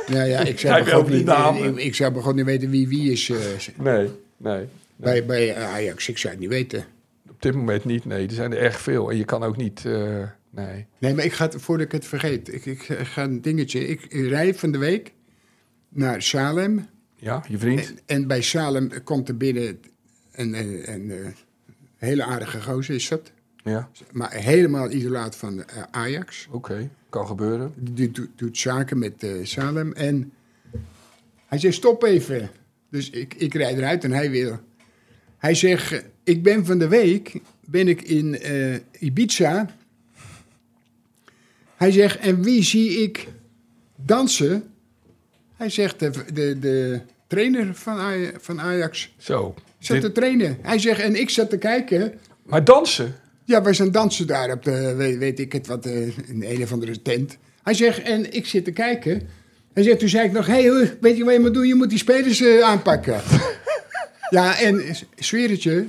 [SPEAKER 3] nou ja, ik zou
[SPEAKER 2] Kijk
[SPEAKER 3] begon
[SPEAKER 2] ook die
[SPEAKER 3] niet,
[SPEAKER 2] namen.
[SPEAKER 3] ik, ik zou begon niet weten wie wie is. eh,
[SPEAKER 2] Nee, nee.
[SPEAKER 3] bij, bij Ajax, ik zou het niet weten.
[SPEAKER 2] Op dit moment niet, nee. Er zijn er erg veel. En je kan ook niet... eh, nee.
[SPEAKER 3] Nee, maar ik ga het, voordat ik het vergeet, ik, ik ga een dingetje. Ik rij van de week naar Salem.
[SPEAKER 2] Ja, je vriend?
[SPEAKER 3] En, en bij Salem komt er binnen een, een, een, eh, hele aardige gozer, is dat?
[SPEAKER 2] Ja,
[SPEAKER 3] Maar helemaal idolaat van eh, Ajax.
[SPEAKER 2] oké. Kan gebeuren.
[SPEAKER 3] Die doet- doet, doet zaken met eh, Salem. En hij zegt, stop even. Dus ik, ik rijd eruit en hij wil. Hij zegt, eh, ik ben van de week ben ik in eh, Ibiza. Hij zegt, en wie zie ik dansen? Hij zegt, de, de, de trainer van, Aj- van Ajax
[SPEAKER 2] Zo.
[SPEAKER 3] zat
[SPEAKER 2] Dit-
[SPEAKER 3] te trainen. Hij zegt, en ik zat te kijken...
[SPEAKER 2] Maar dansen?
[SPEAKER 3] Ja, wij zijn dansen daar op de, weet, weet ik het wat, eh, in een of andere tent. Hij zegt, en ik zit te kijken. Hij zegt, toen zei ik nog, hé, hey, weet je wat je moet doen? Je moet die spelers eh, aanpakken. ja, en s- zweer het je,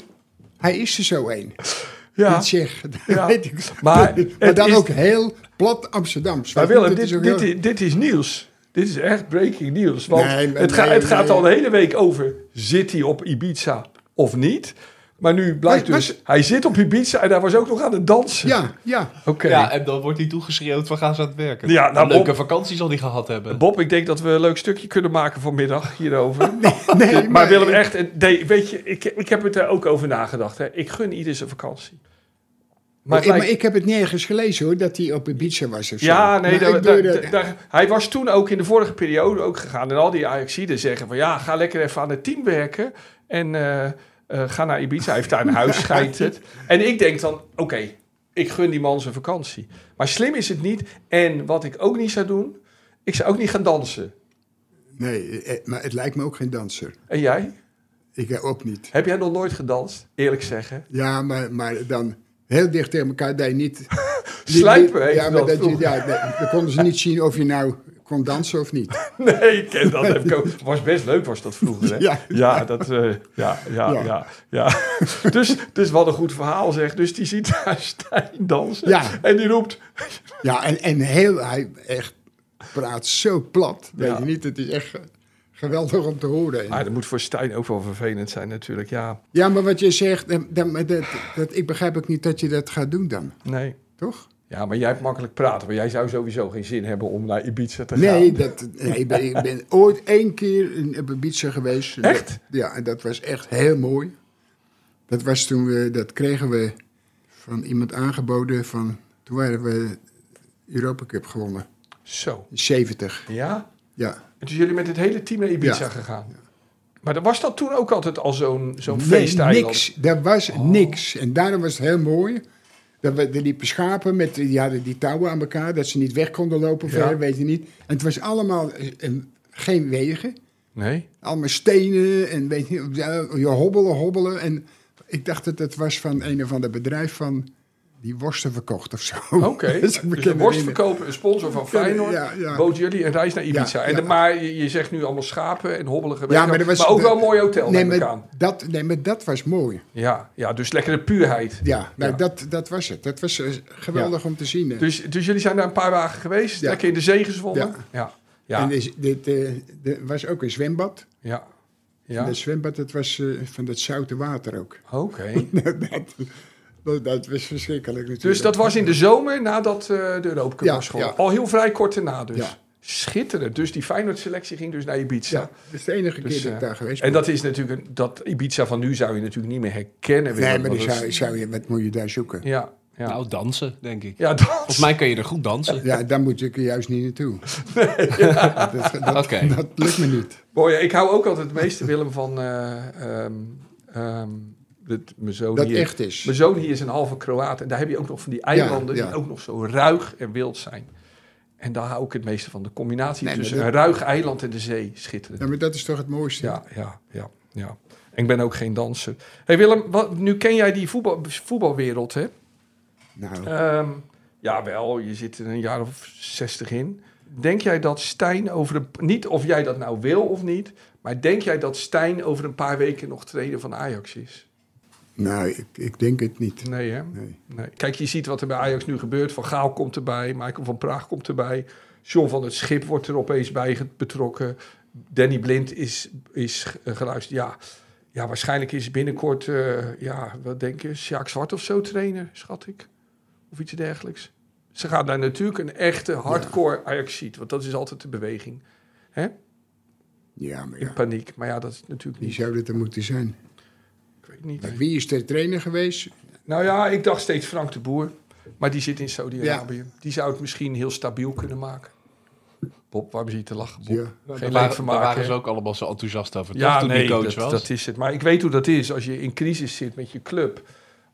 [SPEAKER 3] hij is er zo een.
[SPEAKER 2] Ja.
[SPEAKER 3] Dat zeg, dat
[SPEAKER 2] Ja.
[SPEAKER 3] weet ik.
[SPEAKER 2] Maar
[SPEAKER 3] maar
[SPEAKER 2] het
[SPEAKER 3] dan
[SPEAKER 2] is-
[SPEAKER 3] ook heel plat Amsterdams.
[SPEAKER 2] Maar
[SPEAKER 3] Weet je,
[SPEAKER 2] Willem,
[SPEAKER 3] dat is
[SPEAKER 2] dit,
[SPEAKER 3] dus ook
[SPEAKER 2] dit,
[SPEAKER 3] heel-
[SPEAKER 2] is- dit is nieuws. Dit is echt breaking nieuws. Want
[SPEAKER 3] Nee, maar
[SPEAKER 2] het, ga-
[SPEAKER 3] nee,
[SPEAKER 2] het gaat
[SPEAKER 3] nee.
[SPEAKER 2] al de hele week over... zit hij op Ibiza of niet? Maar nu blijkt
[SPEAKER 3] Maar-
[SPEAKER 2] dus... hij zit op Ibiza en daar was ook nog aan het dansen.
[SPEAKER 3] Ja, ja.
[SPEAKER 2] Oké.
[SPEAKER 5] Ja, en dan wordt hij toegeschreeuwd van gaan ze aan het werken.
[SPEAKER 2] Ja, nou,
[SPEAKER 5] Een leuke
[SPEAKER 2] Bob-
[SPEAKER 5] vakantie zal hij gehad hebben.
[SPEAKER 2] Bob, ik denk dat we een leuk stukje kunnen maken vanmiddag hierover.
[SPEAKER 3] Nee,
[SPEAKER 2] maar, Willem,
[SPEAKER 3] ik-
[SPEAKER 2] echt, eh, nee, weet je, ik, ik heb het er ook over nagedacht. Hè. Ik gun ieder zijn vakantie. Maar het
[SPEAKER 3] Maar, ik,
[SPEAKER 2] lijkt-
[SPEAKER 3] maar ik heb het nergens gelezen hoor, dat hij op Ibiza was of zo.
[SPEAKER 2] Ja, nee,
[SPEAKER 3] Maar
[SPEAKER 2] daar-
[SPEAKER 3] ik bedoel,
[SPEAKER 2] daar-
[SPEAKER 3] dat-
[SPEAKER 2] daar- hij was toen ook in de vorige periode ook gegaan. En al die Ajaxiden zeggen van ja, ga lekker even aan het team werken. En eh, eh, ga naar Ibiza, hij heeft daar een huis, schijnt het. En ik denk dan, oké, ik gun die man zijn vakantie. Maar slim is het niet. En wat ik ook niet zou doen, ik zou ook niet gaan dansen.
[SPEAKER 3] Nee, eh, maar het lijkt me ook geen danser.
[SPEAKER 2] En jij?
[SPEAKER 3] Ik eh, ook niet.
[SPEAKER 2] Heb jij nog nooit gedanst? Eerlijk zeggen.
[SPEAKER 3] Ja, maar, maar dan heel dicht tegen elkaar, dat je niet... niet-
[SPEAKER 2] Slijpen
[SPEAKER 3] niet-
[SPEAKER 2] heette
[SPEAKER 3] ja,
[SPEAKER 2] dat
[SPEAKER 3] maar dat je,
[SPEAKER 2] vroeger.
[SPEAKER 3] ja, nee, dan konden ze niet zien of je nou kon dansen of niet.
[SPEAKER 2] Nee, ik ken dat. Heb ik ook. Was best leuk was dat vroeger, hè?
[SPEAKER 3] Ja.
[SPEAKER 2] Ja, dat, eh, ja, ja, ja,
[SPEAKER 3] Ja.
[SPEAKER 2] ja. Dus, dus wat een goed verhaal zeg. Dus die ziet daar Stijn dansen.
[SPEAKER 3] Ja.
[SPEAKER 2] En die roept,
[SPEAKER 3] Ja, en, en heel, hij echt praat zo plat, weet
[SPEAKER 2] Ja.
[SPEAKER 3] je niet. Het is echt eh, geweldig om te horen.
[SPEAKER 2] Ah, dat moet voor Stijn ook wel vervelend zijn natuurlijk. Ja,
[SPEAKER 3] Ja, maar wat je zegt, eh, dan- maar dat, dat, ik begrijp ook niet dat je dat gaat doen dan,
[SPEAKER 2] nee.
[SPEAKER 3] toch?
[SPEAKER 2] Ja, maar jij hebt makkelijk praten. Maar jij zou sowieso geen zin hebben om naar Ibiza te gaan.
[SPEAKER 3] Nee, dat, nee, ik, ben, ik ben ooit één keer in op Ibiza geweest.
[SPEAKER 2] Echt?
[SPEAKER 3] ja, en dat was echt heel mooi. Dat was toen we, dat kregen we van iemand aangeboden van, toen waren we Europa Cup gewonnen.
[SPEAKER 2] Zo.
[SPEAKER 3] 70,
[SPEAKER 2] Ja?
[SPEAKER 3] ja.
[SPEAKER 2] En toen jullie met het hele team naar Ibiza
[SPEAKER 3] Ja.
[SPEAKER 2] gegaan. Maar dan was dat toen ook altijd al zo'n zo'n
[SPEAKER 3] Nee,
[SPEAKER 2] feesteiland? Oh.
[SPEAKER 3] niks, daar was niks. En daarom was het heel mooi. Dat we, er liepen schapen, met, die hadden die touwen aan elkaar, dat ze niet weg konden lopen
[SPEAKER 2] Ja.
[SPEAKER 3] verder, weet je niet. En het was allemaal eh, een- geen wegen.
[SPEAKER 2] Nee?
[SPEAKER 3] allemaal stenen en weet je, ja, je hobbelen, hobbelen. En ik dacht dat het was van een of ander bedrijf van die worsten verkocht of zo.
[SPEAKER 2] Oké.
[SPEAKER 3] Dat is
[SPEAKER 2] Dus
[SPEAKER 3] een
[SPEAKER 2] de
[SPEAKER 3] bekende ding.
[SPEAKER 2] worstverkoper, een sponsor van Feyenoord,
[SPEAKER 3] Ja, ja.
[SPEAKER 2] bood jullie een reis naar Ibiza.
[SPEAKER 3] Ja,
[SPEAKER 2] en de-
[SPEAKER 3] ja.
[SPEAKER 2] Maar je, je zegt nu allemaal schapen en hobbelige
[SPEAKER 3] Ja,
[SPEAKER 2] wegen,
[SPEAKER 3] maar,
[SPEAKER 2] maar,
[SPEAKER 3] dat was
[SPEAKER 2] ook
[SPEAKER 3] de-
[SPEAKER 2] wel een mooi hotel
[SPEAKER 3] nee,
[SPEAKER 2] neem ik
[SPEAKER 3] maar
[SPEAKER 2] aan.
[SPEAKER 3] dat, nee, maar dat was mooi.
[SPEAKER 2] Ja, ja, dus lekkere puurheid.
[SPEAKER 3] Ja, nou,
[SPEAKER 2] Ja.
[SPEAKER 3] Dat, dat was het. Dat was eh, geweldig om te zien. hè.
[SPEAKER 2] Dus, dus jullie zijn daar een paar dagen geweest,
[SPEAKER 3] Ja.
[SPEAKER 2] lekker in de zee gezwommen.
[SPEAKER 3] Ja.
[SPEAKER 2] Ja,
[SPEAKER 3] En
[SPEAKER 2] ja, ja.
[SPEAKER 3] er is- dit, eh, er was ook een zwembad.
[SPEAKER 2] ja.
[SPEAKER 3] En dat zwembad dat was eh, van dat zoute water ook.
[SPEAKER 2] Oké.
[SPEAKER 3] dat, dat, dat was verschrikkelijk natuurlijk.
[SPEAKER 2] Dus dat was in de zomer nadat eh, de Europa Cup
[SPEAKER 3] Ja,
[SPEAKER 2] was gewonnen.
[SPEAKER 3] ja.
[SPEAKER 2] Al heel vrij kort daarna dus.
[SPEAKER 3] Ja.
[SPEAKER 2] Schitterend. Dus die Feyenoord-selectie ging dus naar Ibiza.
[SPEAKER 3] Ja, dat is de enige
[SPEAKER 2] Dus,
[SPEAKER 3] keer dat ik
[SPEAKER 2] eh,
[SPEAKER 3] daar geweest
[SPEAKER 2] En dat is natuurlijk, een- dat Ibiza van nu zou je natuurlijk niet meer herkennen.
[SPEAKER 3] ben. Nee,
[SPEAKER 2] Willem,
[SPEAKER 3] maar
[SPEAKER 2] want
[SPEAKER 3] die
[SPEAKER 2] dat
[SPEAKER 3] zou,
[SPEAKER 2] is-
[SPEAKER 3] zou je, wat moet je daar zoeken?
[SPEAKER 2] Ja, ja.
[SPEAKER 5] Nou, dansen, denk ik.
[SPEAKER 2] ja, dat.
[SPEAKER 5] Volgens mij kan je er goed dansen.
[SPEAKER 3] Ja, daar moet ik er juist niet naartoe. dat, dat,
[SPEAKER 5] Oké.
[SPEAKER 3] dat lukt me niet.
[SPEAKER 2] Mooi, ik hou ook altijd het meeste, Willem, van... eh, ehm, ehm, dat mijn zoon
[SPEAKER 3] Dat
[SPEAKER 2] hier...
[SPEAKER 3] echt is.
[SPEAKER 2] Mijn zoon hier is een halve Kroaat. En daar heb je ook nog van die eilanden
[SPEAKER 3] ja.
[SPEAKER 2] die ook nog zo ruig en wild zijn. En daar hou ik het meeste van. De combinatie
[SPEAKER 3] Nee, maar
[SPEAKER 2] tussen
[SPEAKER 3] dat-
[SPEAKER 2] een ruig eiland en de zee. Schitterend.
[SPEAKER 3] Ja, maar dat is toch het mooiste?
[SPEAKER 2] Ja, ja, ja. ja. En ik ben ook geen danser. hey Willem, wat, nu ken jij die voetbal, voetbalwereld, hè?
[SPEAKER 3] Nou,
[SPEAKER 2] Ehm ja, wel. Je zit er een jaar of zestig in. Denk jij dat Stijn over een... Niet of jij dat nou wil of niet... maar denk jij dat Stijn over een paar weken nog trainer van Ajax is?
[SPEAKER 3] nou ik, ik denk het niet.
[SPEAKER 2] Nee, hè?
[SPEAKER 3] Nee.
[SPEAKER 2] Nee. Kijk, je ziet wat er bij Ajax nu gebeurt. Van Gaal komt erbij, Michael van Praag komt erbij. John van het Schip wordt er opeens bij ge- betrokken. Danny Blind is, is ge- geluisterd. Ja, ja, waarschijnlijk is binnenkort, eh, ja, wat denk je, Sjaak Zwart of zo trainer, schat ik. Of iets dergelijks. Ze gaan daar natuurlijk een echte hardcore Ajax ziet, want dat is altijd de beweging. Hè?
[SPEAKER 3] Ja, maar
[SPEAKER 2] In
[SPEAKER 3] ja.
[SPEAKER 2] paniek. Maar ja, dat is natuurlijk
[SPEAKER 3] Wie
[SPEAKER 2] niet.
[SPEAKER 3] zou dat er moeten zijn?
[SPEAKER 2] Ik weet niet.
[SPEAKER 3] Maar Wie is de trainer geweest?
[SPEAKER 2] Nou ja, ik dacht steeds Frank de Boer. Maar die zit in Saudi-Arabië. Die zou het misschien heel stabiel kunnen maken. Bob, waarom zit je te lachen? Bob?
[SPEAKER 3] Ja.
[SPEAKER 2] Geen
[SPEAKER 5] Nou, daar
[SPEAKER 2] leuk
[SPEAKER 5] waren, daar
[SPEAKER 2] vermaak.
[SPEAKER 5] waren ze
[SPEAKER 2] hè?
[SPEAKER 5] ook allemaal zo enthousiast over.
[SPEAKER 2] Ja,
[SPEAKER 5] toch, toen
[SPEAKER 2] nee,
[SPEAKER 5] die coach
[SPEAKER 2] dat,
[SPEAKER 5] was.
[SPEAKER 2] dat is het. Maar ik weet hoe dat is. Als je in crisis zit met je club,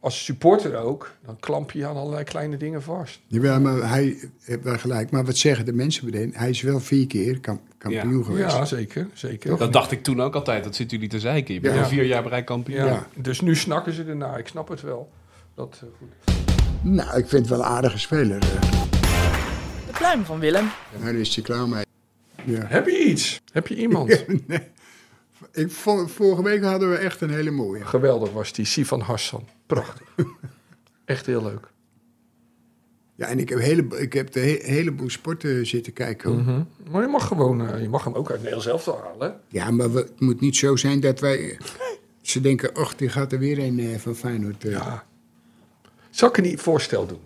[SPEAKER 2] als supporter ook, dan klamp je je aan allerlei kleine dingen vast.
[SPEAKER 3] Jawel, maar hij heeft wel gelijk. Maar wat zeggen de mensen meteen? Hij is wel vier keer kam- kampioen geweest.
[SPEAKER 2] Ja, zeker. zeker.
[SPEAKER 5] Dat dacht ik toen ook altijd. Dat zitten jullie te zeiken. Je bent
[SPEAKER 3] Ja.
[SPEAKER 5] al vier jaar bereik kampioen.
[SPEAKER 2] ja.
[SPEAKER 3] ja.
[SPEAKER 2] Dus nu snakken ze ernaar. Ik snap het wel. Dat, eh, goed.
[SPEAKER 3] Nou, ik vind het wel een aardige speler. eh.
[SPEAKER 4] De pluim van Willem.
[SPEAKER 3] Daar is hij klaar mee. Ja.
[SPEAKER 2] Heb je iets? Heb je iemand?
[SPEAKER 3] Ik, vo- vorige week hadden we echt een hele mooie.
[SPEAKER 2] Geweldig was die. Sifan Hassan. Prachtig. Echt heel leuk.
[SPEAKER 3] Ja, en ik heb, hele, ik heb de he- heleboel sporten zitten kijken.
[SPEAKER 2] Mhm.
[SPEAKER 3] hoor.
[SPEAKER 2] Maar je mag gewoon, eh, je mag hem ook uit Nederland zelf halen. hè?
[SPEAKER 3] Ja, maar we- het moet niet zo zijn dat wij... eh, Ze denken, och, die gaat er weer een eh, van Feyenoord. eh.
[SPEAKER 2] Ja. Zal ik een voorstel doen?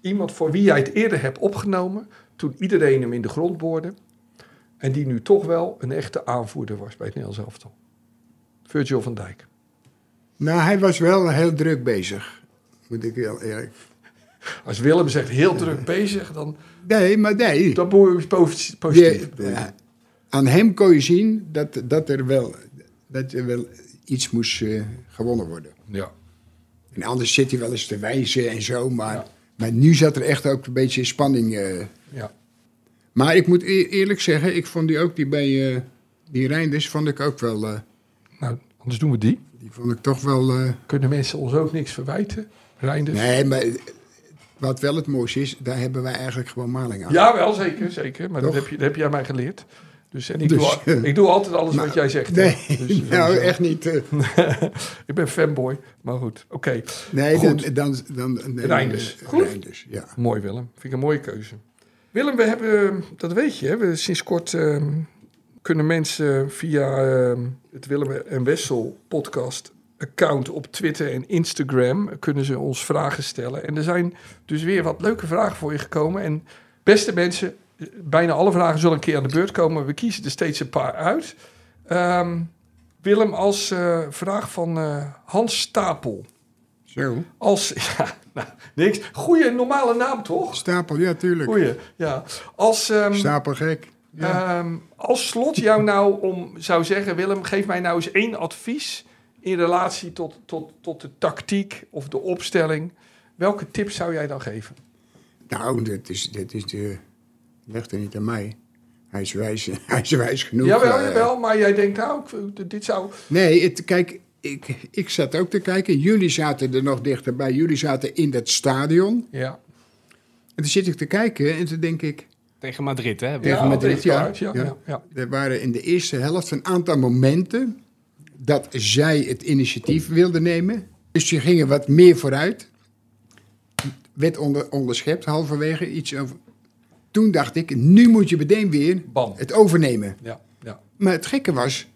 [SPEAKER 2] Iemand voor wie jij het eerder hebt opgenomen, toen iedereen hem in de grond boorde. En die nu toch wel een echte aanvoerder was bij het Nederlands elftal. Virgil van Dijk.
[SPEAKER 3] Nou, hij was wel heel druk bezig. Moet ik heel eerlijk.
[SPEAKER 2] Als Willem zegt heel druk bezig, dan
[SPEAKER 3] Nee, maar nee.
[SPEAKER 2] dat moet je positief. positief
[SPEAKER 3] Je-
[SPEAKER 2] bedoelen.
[SPEAKER 3] ja, aan hem kon je zien dat, dat, er, wel, dat er wel iets moest eh, gewonnen worden.
[SPEAKER 2] ja.
[SPEAKER 3] En anders zit hij wel eens te wijzen en zo. Maar, maar nu zat er echt ook een beetje spanning. eh.
[SPEAKER 2] ja.
[SPEAKER 3] Maar ik moet eer- eerlijk zeggen, ik vond die ook die bij eh, die Reinders vond ik ook wel. eh,
[SPEAKER 2] Nou, anders doen we die.
[SPEAKER 3] die vond ik toch wel. eh,
[SPEAKER 2] Kunnen mensen ons ook niks verwijten? Reinders?
[SPEAKER 3] nee, maar wat wel het mooiste is, daar hebben wij eigenlijk gewoon maling aan.
[SPEAKER 2] Ja, wel Ah. zeker, zeker. Maar dat
[SPEAKER 3] Toch?
[SPEAKER 2] heb, je, dat heb jij mij geleerd. Dus, en ik,
[SPEAKER 3] Dus,
[SPEAKER 2] doe, al- ik doe altijd alles
[SPEAKER 3] nou,
[SPEAKER 2] wat jij zegt. hè.
[SPEAKER 3] Nee,
[SPEAKER 2] Dus, eh,
[SPEAKER 3] nou
[SPEAKER 2] zo.
[SPEAKER 3] echt niet. eh.
[SPEAKER 2] Ik ben fanboy, maar goed. Oké,
[SPEAKER 3] nee,
[SPEAKER 2] Goed.
[SPEAKER 3] dan. dan, dan, dan
[SPEAKER 2] Reinders.
[SPEAKER 3] eh,
[SPEAKER 2] Goed.
[SPEAKER 3] Reinders, ja.
[SPEAKER 2] mooi Willem. Vind ik een mooie keuze. Willem, we hebben, eh, dat weet je, hè, we sinds kort eh, kunnen mensen via eh, het Willem en Wessel podcast account op Twitter en Instagram kunnen ze ons vragen stellen. En er zijn dus weer wat leuke vragen voor je gekomen. En beste mensen, eh, bijna alle vragen zullen een keer aan de beurt komen. We kiezen er steeds een paar uit. Ehm, Willem, als eh, vraag van eh, Hans Stapel.
[SPEAKER 3] Zo.
[SPEAKER 2] Als, ja, nou, niks. Goeie normale naam, toch?
[SPEAKER 3] Stapel, ja, tuurlijk.
[SPEAKER 2] Goeie, ja. Als, ehm,
[SPEAKER 3] Stapelgek. Ja.
[SPEAKER 2] ehm, als slot jou nou om zou zeggen... Willem, geef mij nou eens één advies... in relatie tot, tot, tot de tactiek of de opstelling. Welke tips zou jij dan geven?
[SPEAKER 3] Nou, dit is, dit is de... Leg er niet aan mij. Hij is wijs, hij is wijs genoeg.
[SPEAKER 2] jawel,
[SPEAKER 3] eh.
[SPEAKER 2] jawel, maar jij denkt nou, ik- dit zou...
[SPEAKER 3] Nee, het, kijk, ik, ik zat ook te kijken. Jullie zaten er nog dichterbij. Jullie zaten in dat stadion.
[SPEAKER 2] Ja,
[SPEAKER 3] En toen zit ik te kijken en toen denk ik...
[SPEAKER 5] Tegen Madrid, hè?
[SPEAKER 3] Tegen
[SPEAKER 2] ja,
[SPEAKER 3] Madrid,
[SPEAKER 2] dit,
[SPEAKER 3] ja.
[SPEAKER 2] Ja,
[SPEAKER 3] Ja.
[SPEAKER 2] ja, ja.
[SPEAKER 3] Er waren in de eerste helft een aantal momenten... dat zij het initiatief wilden nemen. Dus die gingen wat meer vooruit. Werd onder, onderschept halverwege iets over... Toen dacht ik, nu moet je meteen weer
[SPEAKER 2] Bam.
[SPEAKER 3] het overnemen.
[SPEAKER 2] Ja, ja,
[SPEAKER 3] Maar het gekke was,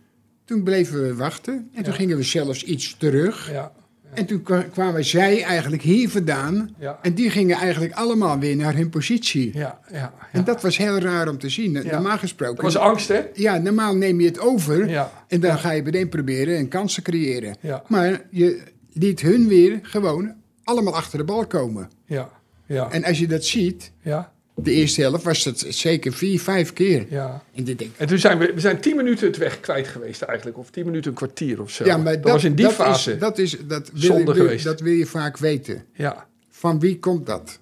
[SPEAKER 3] toen bleven we wachten en toen
[SPEAKER 2] Ja.
[SPEAKER 3] gingen we zelfs iets terug.
[SPEAKER 2] ja,
[SPEAKER 3] En toen kwa- kwamen zij eigenlijk hier vandaan
[SPEAKER 2] ja,
[SPEAKER 3] en die gingen eigenlijk allemaal weer naar hun positie.
[SPEAKER 2] ja, ja.
[SPEAKER 3] En dat was heel raar om te zien,
[SPEAKER 2] Ja.
[SPEAKER 3] normaal
[SPEAKER 2] Dat
[SPEAKER 3] gesproken.
[SPEAKER 2] was angst, hè?
[SPEAKER 3] Ja, normaal neem je het over
[SPEAKER 2] Ja,
[SPEAKER 3] en dan ga je meteen proberen en kansen creëren.
[SPEAKER 2] ja,
[SPEAKER 3] Maar je liet hun weer gewoon allemaal achter de bal komen.
[SPEAKER 2] ja, ja,
[SPEAKER 3] En als je dat ziet,
[SPEAKER 2] ja,
[SPEAKER 3] de eerste helft was dat zeker vier, vijf keer.
[SPEAKER 2] ja.
[SPEAKER 3] En dit denk ik,
[SPEAKER 2] En toen zijn we, we zijn tien minuten het weg kwijt geweest eigenlijk. Of tien minuten een kwartier of zo.
[SPEAKER 3] ja, maar
[SPEAKER 2] dat, was in die
[SPEAKER 3] dat
[SPEAKER 2] fase.
[SPEAKER 3] Is, dat is, dat wil,
[SPEAKER 2] zonde
[SPEAKER 3] wil-
[SPEAKER 2] geweest.
[SPEAKER 3] Dat wil je vaak weten.
[SPEAKER 2] ja,
[SPEAKER 3] Van wie komt dat?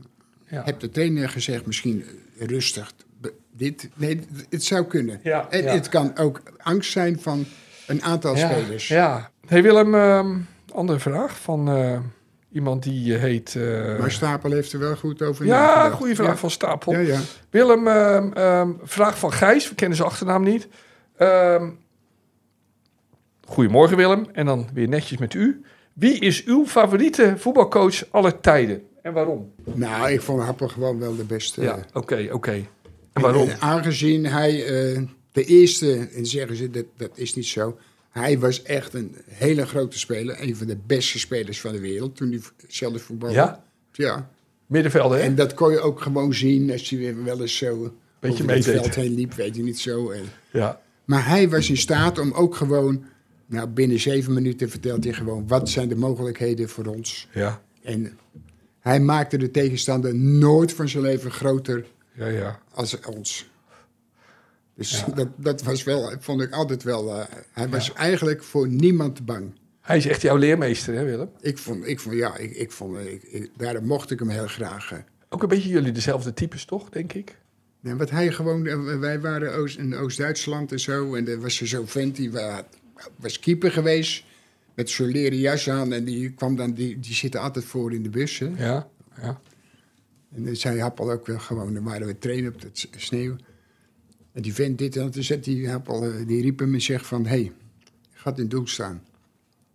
[SPEAKER 2] ja.
[SPEAKER 3] Heb de trainer gezegd, misschien eh, rustig, be- dit? Nee, d- het zou kunnen.
[SPEAKER 2] Ja,
[SPEAKER 3] en
[SPEAKER 2] ja.
[SPEAKER 3] het kan ook angst zijn van een aantal
[SPEAKER 2] ja,
[SPEAKER 3] spelers.
[SPEAKER 2] Ja. Hey Willem, ehm, andere vraag van eh, iemand die eh, heet... eh,
[SPEAKER 3] Maar Stapel heeft er wel goed over
[SPEAKER 2] ja,
[SPEAKER 3] nagedacht.
[SPEAKER 2] goede vraag
[SPEAKER 3] Ja.
[SPEAKER 2] van Stapel.
[SPEAKER 3] Ja, ja.
[SPEAKER 2] Willem, ehm, ehm, vraag van Gijs. We kennen zijn achternaam niet. Ehm, goedemorgen Willem. En dan weer netjes met u. Wie is uw favoriete voetbalcoach aller tijden? En waarom?
[SPEAKER 3] Nou, ik vond Happel gewoon wel de beste.
[SPEAKER 2] Ja,
[SPEAKER 3] eh,
[SPEAKER 2] oké, oké. En waarom?
[SPEAKER 3] eh, Aangezien hij eh, de eerste, en zeggen ze, dat, dat is niet zo. Hij was echt een hele grote speler. Een van de beste spelers van de wereld toen hij v- zelf voetbalde.
[SPEAKER 2] Ja?
[SPEAKER 3] ja.
[SPEAKER 2] Middenvelder, hè?
[SPEAKER 3] En dat kon je ook gewoon zien als hij weer wel eens zo over het
[SPEAKER 2] meedeed.
[SPEAKER 3] veld heen liep, weet je niet zo. En,
[SPEAKER 2] Ja.
[SPEAKER 3] maar hij was in staat om ook gewoon, nou binnen zeven minuten vertelt hij gewoon wat zijn de mogelijkheden voor ons.
[SPEAKER 2] Ja,
[SPEAKER 3] En hij maakte de tegenstander nooit van zijn leven groter
[SPEAKER 2] ja, ja.
[SPEAKER 3] als ons. Dus dat, dat was wel, vond ik altijd wel. eh, hij was eigenlijk voor niemand bang.
[SPEAKER 2] Hij is echt jouw leermeester, hè Willem?
[SPEAKER 3] Ik vond, ik vond ja, ik, ik vond, eh, ik, ik- daarom mocht ik hem heel graag. eh.
[SPEAKER 2] Ook een beetje jullie dezelfde types, toch, denk ik?
[SPEAKER 3] Nee, wat hij gewoon, eh, wij waren Oost, in Oost-Duitsland en zo. En er was er zo'n vent die wa- was keeper geweest. Met zo'n leren jas aan. En die kwam dan, die, die zitten altijd voor in de bus. Hè?
[SPEAKER 2] Ja, ja.
[SPEAKER 3] En dan zei Happel ook wel gewoon, dan waren we trainen op dat s- sneeuw. En die vent dit en dat. Toen zei die Happel, eh, die riep hem en zegt van, hé, hey, je gaat in het doel staan.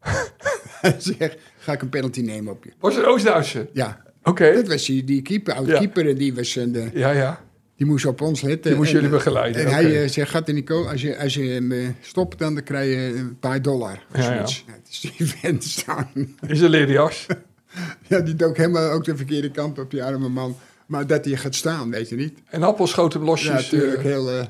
[SPEAKER 3] hij zegt, ga ik een penalty nemen op je.
[SPEAKER 2] Was een Oost-Duitse?
[SPEAKER 3] Ja,
[SPEAKER 2] Oké.
[SPEAKER 3] dat was die, die keeper, oud
[SPEAKER 2] Ja.
[SPEAKER 3] keeper. En die was een... eh,
[SPEAKER 2] Ja, ja.
[SPEAKER 3] Die moest op ons letten.
[SPEAKER 2] Die moest
[SPEAKER 3] En,
[SPEAKER 2] jullie
[SPEAKER 3] eh,
[SPEAKER 2] begeleiden,
[SPEAKER 3] En
[SPEAKER 2] oké.
[SPEAKER 3] hij eh, zei, gaat in Nico, als je, als je hem eh, stopt, dan krijg je een paar dollar. Of
[SPEAKER 2] Ja,
[SPEAKER 3] zoiets. Nou, dus die vent staan.
[SPEAKER 2] Is een leren jas.
[SPEAKER 3] ja, die dook helemaal ook de verkeerde kant op, die arme man. Maar dat hij gaat staan, weet je niet.
[SPEAKER 2] En Appel schoot hem
[SPEAKER 3] Ja,
[SPEAKER 2] losjes. eh,
[SPEAKER 3] natuurlijk heel... eh,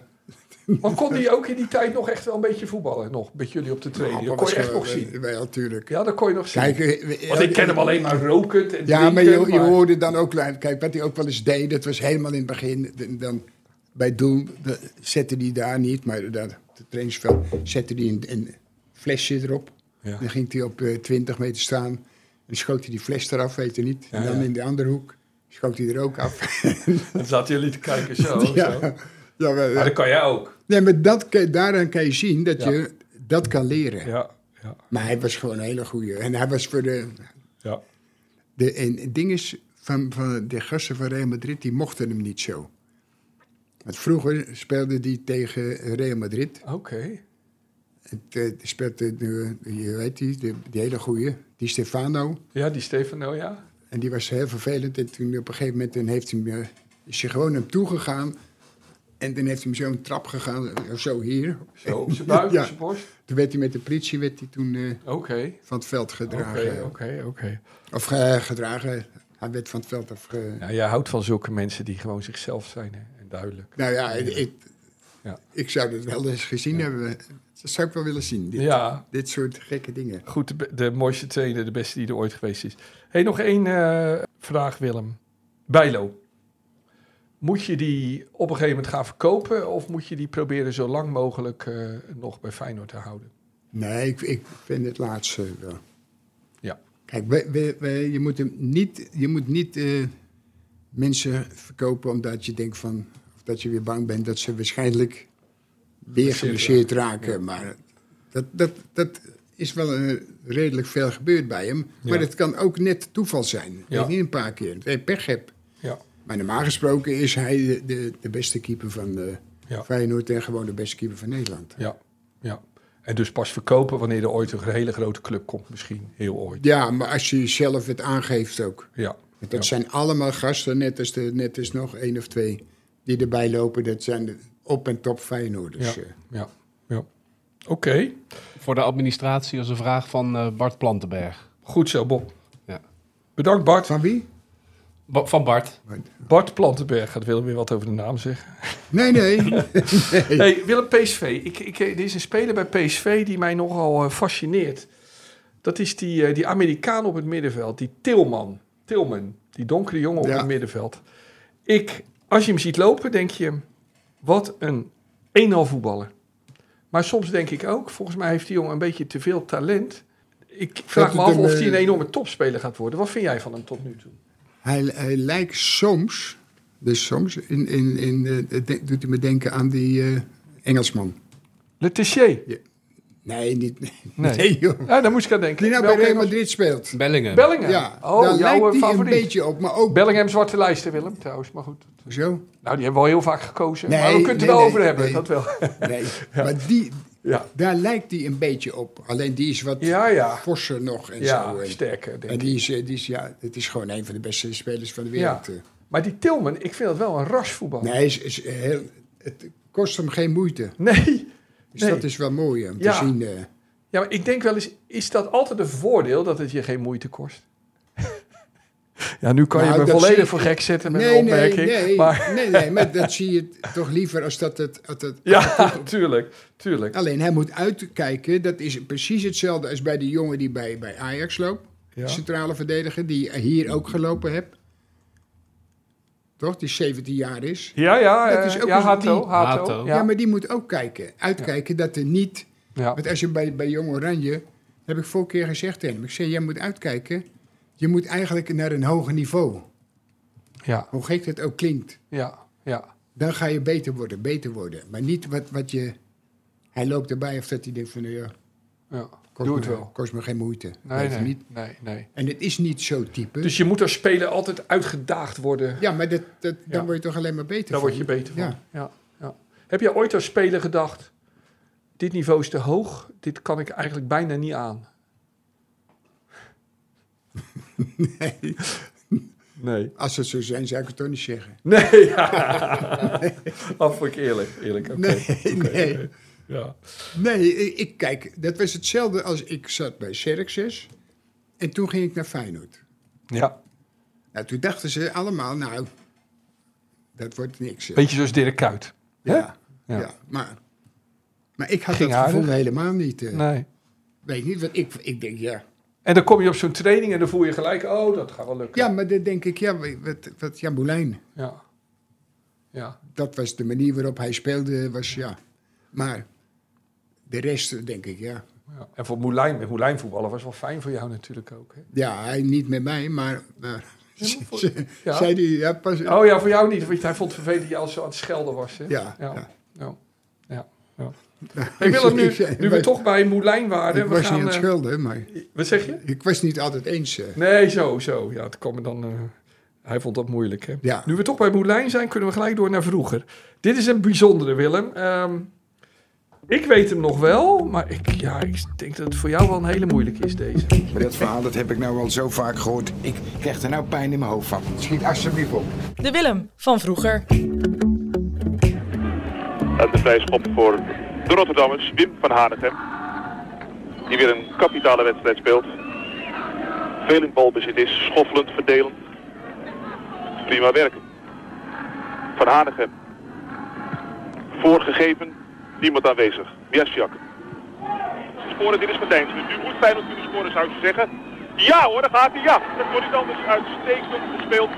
[SPEAKER 2] Maar kon hij ook in die tijd nog echt wel een beetje voetballen? Nog met jullie op de training? dat kon je echt nog zien.
[SPEAKER 3] Wij natuurlijk.
[SPEAKER 2] Ja, dat kon je nog zien.
[SPEAKER 3] eh, Kijk, eh, we-
[SPEAKER 2] Want ik ken hem alleen maar rokend en
[SPEAKER 3] Ja, maar je,
[SPEAKER 2] drinkend,
[SPEAKER 3] je hoorde dan ook... klein- Kijk, wat hij ook wel eens deed, dat was helemaal in het begin. d- Dan, bij Doel dat zette hij daar niet, maar daar, het trainingsveld zette hij een, een flesje erop.
[SPEAKER 2] Ja.
[SPEAKER 3] Dan ging hij op eh, 20 meter staan. En schoot hij die fles eraf, weet je niet. En
[SPEAKER 2] Ja,
[SPEAKER 3] dan
[SPEAKER 2] ja.
[SPEAKER 3] in de andere hoek schoot hij er ook af.
[SPEAKER 2] Dan zaten jullie te kijken zo. zo.
[SPEAKER 3] ja. Ja, maar,
[SPEAKER 2] Maar dat kan jij ook.
[SPEAKER 3] nee, maar dat, kan- daaraan kan je zien dat
[SPEAKER 2] Ja.
[SPEAKER 3] je dat kan leren.
[SPEAKER 2] Ja, ja,
[SPEAKER 3] Maar hij was gewoon een hele goeie. En hij was voor de...
[SPEAKER 2] ja.
[SPEAKER 3] de en het ding is, van, van de gasten van Real Madrid, die mochten hem niet zo. Want vroeger speelde hij tegen Real Madrid.
[SPEAKER 2] Oké.
[SPEAKER 3] Het, eh, speelde, de, je weet die, de, die hele goeie, die Stefano.
[SPEAKER 2] Ja, die Stefano, ja.
[SPEAKER 3] En die was heel vervelend. En toen op een gegeven moment toen heeft hij, hem, eh, is hij gewoon hem toegegaan. En dan heeft hij hem zo'n trap gegaan, of zo hier.
[SPEAKER 2] Zo, op zijn buik,
[SPEAKER 3] Ja.
[SPEAKER 2] op zijn borst.
[SPEAKER 3] Toen werd hij met de politie werd hij toen, eh,
[SPEAKER 2] Oké,
[SPEAKER 3] van het veld
[SPEAKER 2] oké,
[SPEAKER 3] gedragen.
[SPEAKER 2] oké, oké.
[SPEAKER 3] Of eh, gedragen, hij werd van het veld afge...
[SPEAKER 2] Nou, jij houdt van zulke mensen die gewoon zichzelf zijn hè, en duidelijk.
[SPEAKER 3] Nou ja, ik,
[SPEAKER 2] Ja.
[SPEAKER 3] ik zou dat wel eens gezien hebben. Dat zou ik wel willen zien, dit,
[SPEAKER 2] Ja,
[SPEAKER 3] dit soort gekke dingen.
[SPEAKER 2] Goed, de, be- de mooiste trainer, de beste die er ooit geweest is. Hey, nog één eh, vraag, Willem. Bijlo. Moet je die op een gegeven moment gaan verkopen... of moet je die proberen zo lang mogelijk eh, nog bij Feyenoord te houden?
[SPEAKER 3] Nee, ik, ik vind het laatste wel.
[SPEAKER 2] Ja.
[SPEAKER 3] Kijk, we, we, we- je moet, hem niet, je moet niet eh, mensen verkopen omdat je denkt van... of dat je weer bang bent dat ze waarschijnlijk weer geblesseerd raken. Maar dat, dat, dat is wel eh, redelijk veel gebeurd bij hem. Maar het kan ook net toeval zijn.
[SPEAKER 2] Ja.
[SPEAKER 3] Dat je niet een paar keer dat je pech hebt.
[SPEAKER 2] Ja,
[SPEAKER 3] Maar normaal gesproken is hij de, de, de beste keeper van eh
[SPEAKER 2] Ja.
[SPEAKER 3] Feyenoord en gewoon de beste keeper van Nederland.
[SPEAKER 2] ja, ja. En dus pas verkopen wanneer er ooit een hele grote club komt misschien. Heel ooit.
[SPEAKER 3] Ja, maar als je zelf het aangeeft ook.
[SPEAKER 2] Ja,
[SPEAKER 3] Want dat
[SPEAKER 2] Ja.
[SPEAKER 3] zijn allemaal gasten, net als, de, net als nog één of twee die erbij lopen. Dat zijn de op- en top Feyenoorders.
[SPEAKER 2] ja,
[SPEAKER 3] eh.
[SPEAKER 2] ja. ja. Oké,
[SPEAKER 5] Voor de administratie als een vraag van eh, Bart Plantenberg.
[SPEAKER 2] goed zo, Bob.
[SPEAKER 5] Ja.
[SPEAKER 2] Bedankt, Bart.
[SPEAKER 3] Van wie?
[SPEAKER 5] Ba- van Bart.
[SPEAKER 2] Bart Plantenberg gaat Willem weer wat over de naam zeggen.
[SPEAKER 3] Nee, nee.
[SPEAKER 2] Hey, Willem, PSV. Ik, ik, er is een speler bij PSV die mij nogal eh, fascineert. Dat is die, eh, die Amerikaan op het middenveld, die Tilman. Tilman, die donkere jongen op
[SPEAKER 3] Ja.
[SPEAKER 2] het middenveld. Ik, als je hem ziet lopen, denk je, wat een 1 voetballer. Maar soms denk ik ook, volgens mij heeft die jongen een beetje te veel talent. Ik vraag
[SPEAKER 3] het
[SPEAKER 2] me af
[SPEAKER 3] hem,
[SPEAKER 2] of
[SPEAKER 3] eh,
[SPEAKER 2] hij een enorme topspeler gaat worden. Wat vind jij van hem tot nu toe?
[SPEAKER 3] hij, hij lijkt soms, dus soms, in, in, in, eh, het de- doet hij me denken aan die eh, Engelsman.
[SPEAKER 2] Le Tessier.
[SPEAKER 3] Nee, niet. Nee,
[SPEAKER 2] Nee.
[SPEAKER 3] joh.
[SPEAKER 2] Ja, daar moest ik aan denken.
[SPEAKER 3] Die nou bij
[SPEAKER 2] Welke
[SPEAKER 3] Real
[SPEAKER 2] Engels-
[SPEAKER 3] Madrid speelt.
[SPEAKER 5] Bellingen.
[SPEAKER 2] Bellingham.
[SPEAKER 3] Ja,
[SPEAKER 2] oh, jouw
[SPEAKER 3] daar lijkt
[SPEAKER 2] eh,
[SPEAKER 3] hij een
[SPEAKER 2] favoriet.
[SPEAKER 3] beetje op, maar ook
[SPEAKER 2] Bellingham zwarte lijsten, Willem, trouwens. Maar goed.
[SPEAKER 3] zo.
[SPEAKER 2] Nou, die hebben we al heel vaak gekozen.
[SPEAKER 3] Nee,
[SPEAKER 2] maar we kunnen het er
[SPEAKER 3] nee,
[SPEAKER 2] wel
[SPEAKER 3] nee,
[SPEAKER 2] over hebben,
[SPEAKER 3] nee.
[SPEAKER 2] dat wel.
[SPEAKER 3] Nee, maar die,
[SPEAKER 2] Ja,
[SPEAKER 3] daar lijkt hij een beetje op. Alleen die is wat
[SPEAKER 2] ja, ja.
[SPEAKER 3] forser nog en zo.
[SPEAKER 2] ja
[SPEAKER 3] eh.
[SPEAKER 2] sterker, denk
[SPEAKER 3] En
[SPEAKER 2] ik.
[SPEAKER 3] die is, eh, die is, ja, het is gewoon een van de beste spelers van de wereld.
[SPEAKER 2] Ja.
[SPEAKER 3] eh.
[SPEAKER 2] Maar die Tilman, ik vind dat wel een rasvoetbal.
[SPEAKER 3] Nee, hij is, is eh, heel, het kost hem geen moeite.
[SPEAKER 2] Nee.
[SPEAKER 3] Dus
[SPEAKER 2] Nee.
[SPEAKER 3] dat is wel mooi om te
[SPEAKER 2] Ja.
[SPEAKER 3] zien. eh.
[SPEAKER 2] Ja, maar ik denk wel eens, is dat altijd een voordeel dat het je geen moeite kost? ja, nu kan
[SPEAKER 3] Nou,
[SPEAKER 2] je me
[SPEAKER 3] dat zie
[SPEAKER 2] volledig
[SPEAKER 3] ik-
[SPEAKER 2] voor gek zetten met een
[SPEAKER 3] nee, nee,
[SPEAKER 2] opmerking.
[SPEAKER 3] nee,
[SPEAKER 2] Maar
[SPEAKER 3] nee, nee, maar dat zie je toch liever als dat het... Dat het
[SPEAKER 2] ja, tuurlijk, tuurlijk.
[SPEAKER 3] Alleen hij moet uitkijken, dat is precies hetzelfde als bij die jongen die bij, bij Ajax loopt.
[SPEAKER 2] Ja.
[SPEAKER 3] centrale verdediger, die hier ook gelopen heb. Toch? Die 17 jaar is.
[SPEAKER 2] Ja, ja,
[SPEAKER 3] Dat
[SPEAKER 2] eh,
[SPEAKER 3] is ook
[SPEAKER 2] ja
[SPEAKER 3] eens
[SPEAKER 2] Hato,
[SPEAKER 3] die-
[SPEAKER 2] Hato.
[SPEAKER 5] Hato.
[SPEAKER 3] Ja.
[SPEAKER 2] Ja,
[SPEAKER 3] maar die moet ook kijken. Uitkijken dat er niet...
[SPEAKER 2] ja.
[SPEAKER 3] Want als je bij, bij Jong Oranje... heb ik vorige keer gezegd tegen hem. Ik zei, jij moet uitkijken. Je moet eigenlijk naar een hoger niveau.
[SPEAKER 2] ja,
[SPEAKER 3] Hoe gek dat ook klinkt.
[SPEAKER 2] ja, ja.
[SPEAKER 3] Dan ga je beter worden, beter worden. Maar niet wat, wat je... Hij loopt erbij of dat hij denkt van... nou Ja,
[SPEAKER 2] ja.
[SPEAKER 3] kost,
[SPEAKER 2] Doe het
[SPEAKER 3] me,
[SPEAKER 2] wel.
[SPEAKER 3] kost me geen moeite.
[SPEAKER 2] Nee,
[SPEAKER 3] Weet je
[SPEAKER 2] nee,
[SPEAKER 3] niet.
[SPEAKER 2] nee, nee.
[SPEAKER 3] En het is niet zo type.
[SPEAKER 2] Dus je moet als speler altijd uitgedaagd worden.
[SPEAKER 3] Ja, maar dat, dat, dan
[SPEAKER 2] Ja.
[SPEAKER 3] word je toch alleen maar beter
[SPEAKER 2] Daar
[SPEAKER 3] van.
[SPEAKER 2] word je beter van. Ja.
[SPEAKER 3] Ja.
[SPEAKER 2] Ja, Heb je ooit als speler gedacht, dit niveau is te hoog, dit kan ik eigenlijk bijna niet aan? Nee.
[SPEAKER 3] Als het zo zijn, zou ik het toch niet zeggen.
[SPEAKER 2] Nee. Nee. Af voor ik eerlijk. Eerlijk. Oké.
[SPEAKER 3] Nee, nee.
[SPEAKER 2] Ja.
[SPEAKER 3] Nee, ik, ik- kijk, dat was hetzelfde als ik zat bij Xerxes. En toen ging ik naar Feyenoord.
[SPEAKER 2] ja.
[SPEAKER 3] Nou, toen dachten ze allemaal, nou, dat wordt niks. hè.
[SPEAKER 2] Beetje zoals Dirk Kuyt. hè?
[SPEAKER 3] Ja.
[SPEAKER 5] Ja.
[SPEAKER 3] Ja. maar, maar ik had
[SPEAKER 2] Ging
[SPEAKER 3] dat gevoel
[SPEAKER 2] aardig.
[SPEAKER 3] helemaal niet. eh,
[SPEAKER 2] Nee.
[SPEAKER 3] Weet niet, want ik, ik denk, ja.
[SPEAKER 2] En dan kom je op zo'n training en dan voel je gelijk, oh, dat gaat wel lukken.
[SPEAKER 3] Ja, maar dan denk ik, ja, wat, wat Jan Boulijn,
[SPEAKER 2] Ja. Ja.
[SPEAKER 3] dat was de manier waarop hij speelde, was ja. Maar de rest, denk ik, ja.
[SPEAKER 2] ja. En voor Moulijn, met Moulijn voetballen was wel fijn voor jou natuurlijk ook. Hè?
[SPEAKER 3] Ja, hij niet met mij, maar... maar
[SPEAKER 2] Ja.
[SPEAKER 3] Zei die, ja, pas...
[SPEAKER 2] Oh ja, voor jou niet, want hij vond het vervelend dat je al zo aan het schelden was. Hè?
[SPEAKER 3] Ja,
[SPEAKER 2] ja.
[SPEAKER 3] ja.
[SPEAKER 2] ja. ja. ja. Ik wil het
[SPEAKER 3] Ik
[SPEAKER 2] nu,
[SPEAKER 3] zei,
[SPEAKER 2] nu we
[SPEAKER 3] ik-
[SPEAKER 2] toch bij Moulijn
[SPEAKER 3] Ik
[SPEAKER 2] waren. We
[SPEAKER 3] was niet
[SPEAKER 2] gaan,
[SPEAKER 3] aan het
[SPEAKER 2] eh,
[SPEAKER 3] schulden, maar
[SPEAKER 2] wat zeg je?
[SPEAKER 3] ik was niet altijd eens. eh.
[SPEAKER 2] Nee, zo, zo. Ja, het kwam er dan. eh, hij vond dat moeilijk. Hè?
[SPEAKER 3] Ja.
[SPEAKER 2] Nu we toch bij Moulijn zijn, kunnen we gelijk door naar vroeger. Dit is een bijzondere, Willem. Ehm, ik weet hem nog wel, maar ik, ja, ik denk dat het voor jou wel een hele moeilijke is, deze.
[SPEAKER 6] Maar dat verhaal dat heb ik nou al zo vaak gehoord. Ik krijg er nou pijn in mijn hoofd van.
[SPEAKER 3] Schiet alsjeblieft op.
[SPEAKER 4] De Willem van vroeger.
[SPEAKER 7] En de vrijschop voor de Rotterdammers, Wim van Hanegem. Die weer een kapitale wedstrijd speelt. Veel in balbezit is, schoffelend, verdelend. Prima werken. Van Hanegem. Voorgegeven, niemand aanwezig. Jasjak. Scoren, dit is Matijnsen. Nu moet Feyenoord kunnen scoren, zou je zeggen. Ja hoor, daar gaat hij. Ja, dat wordt niet anders. Uitstekend gespeeld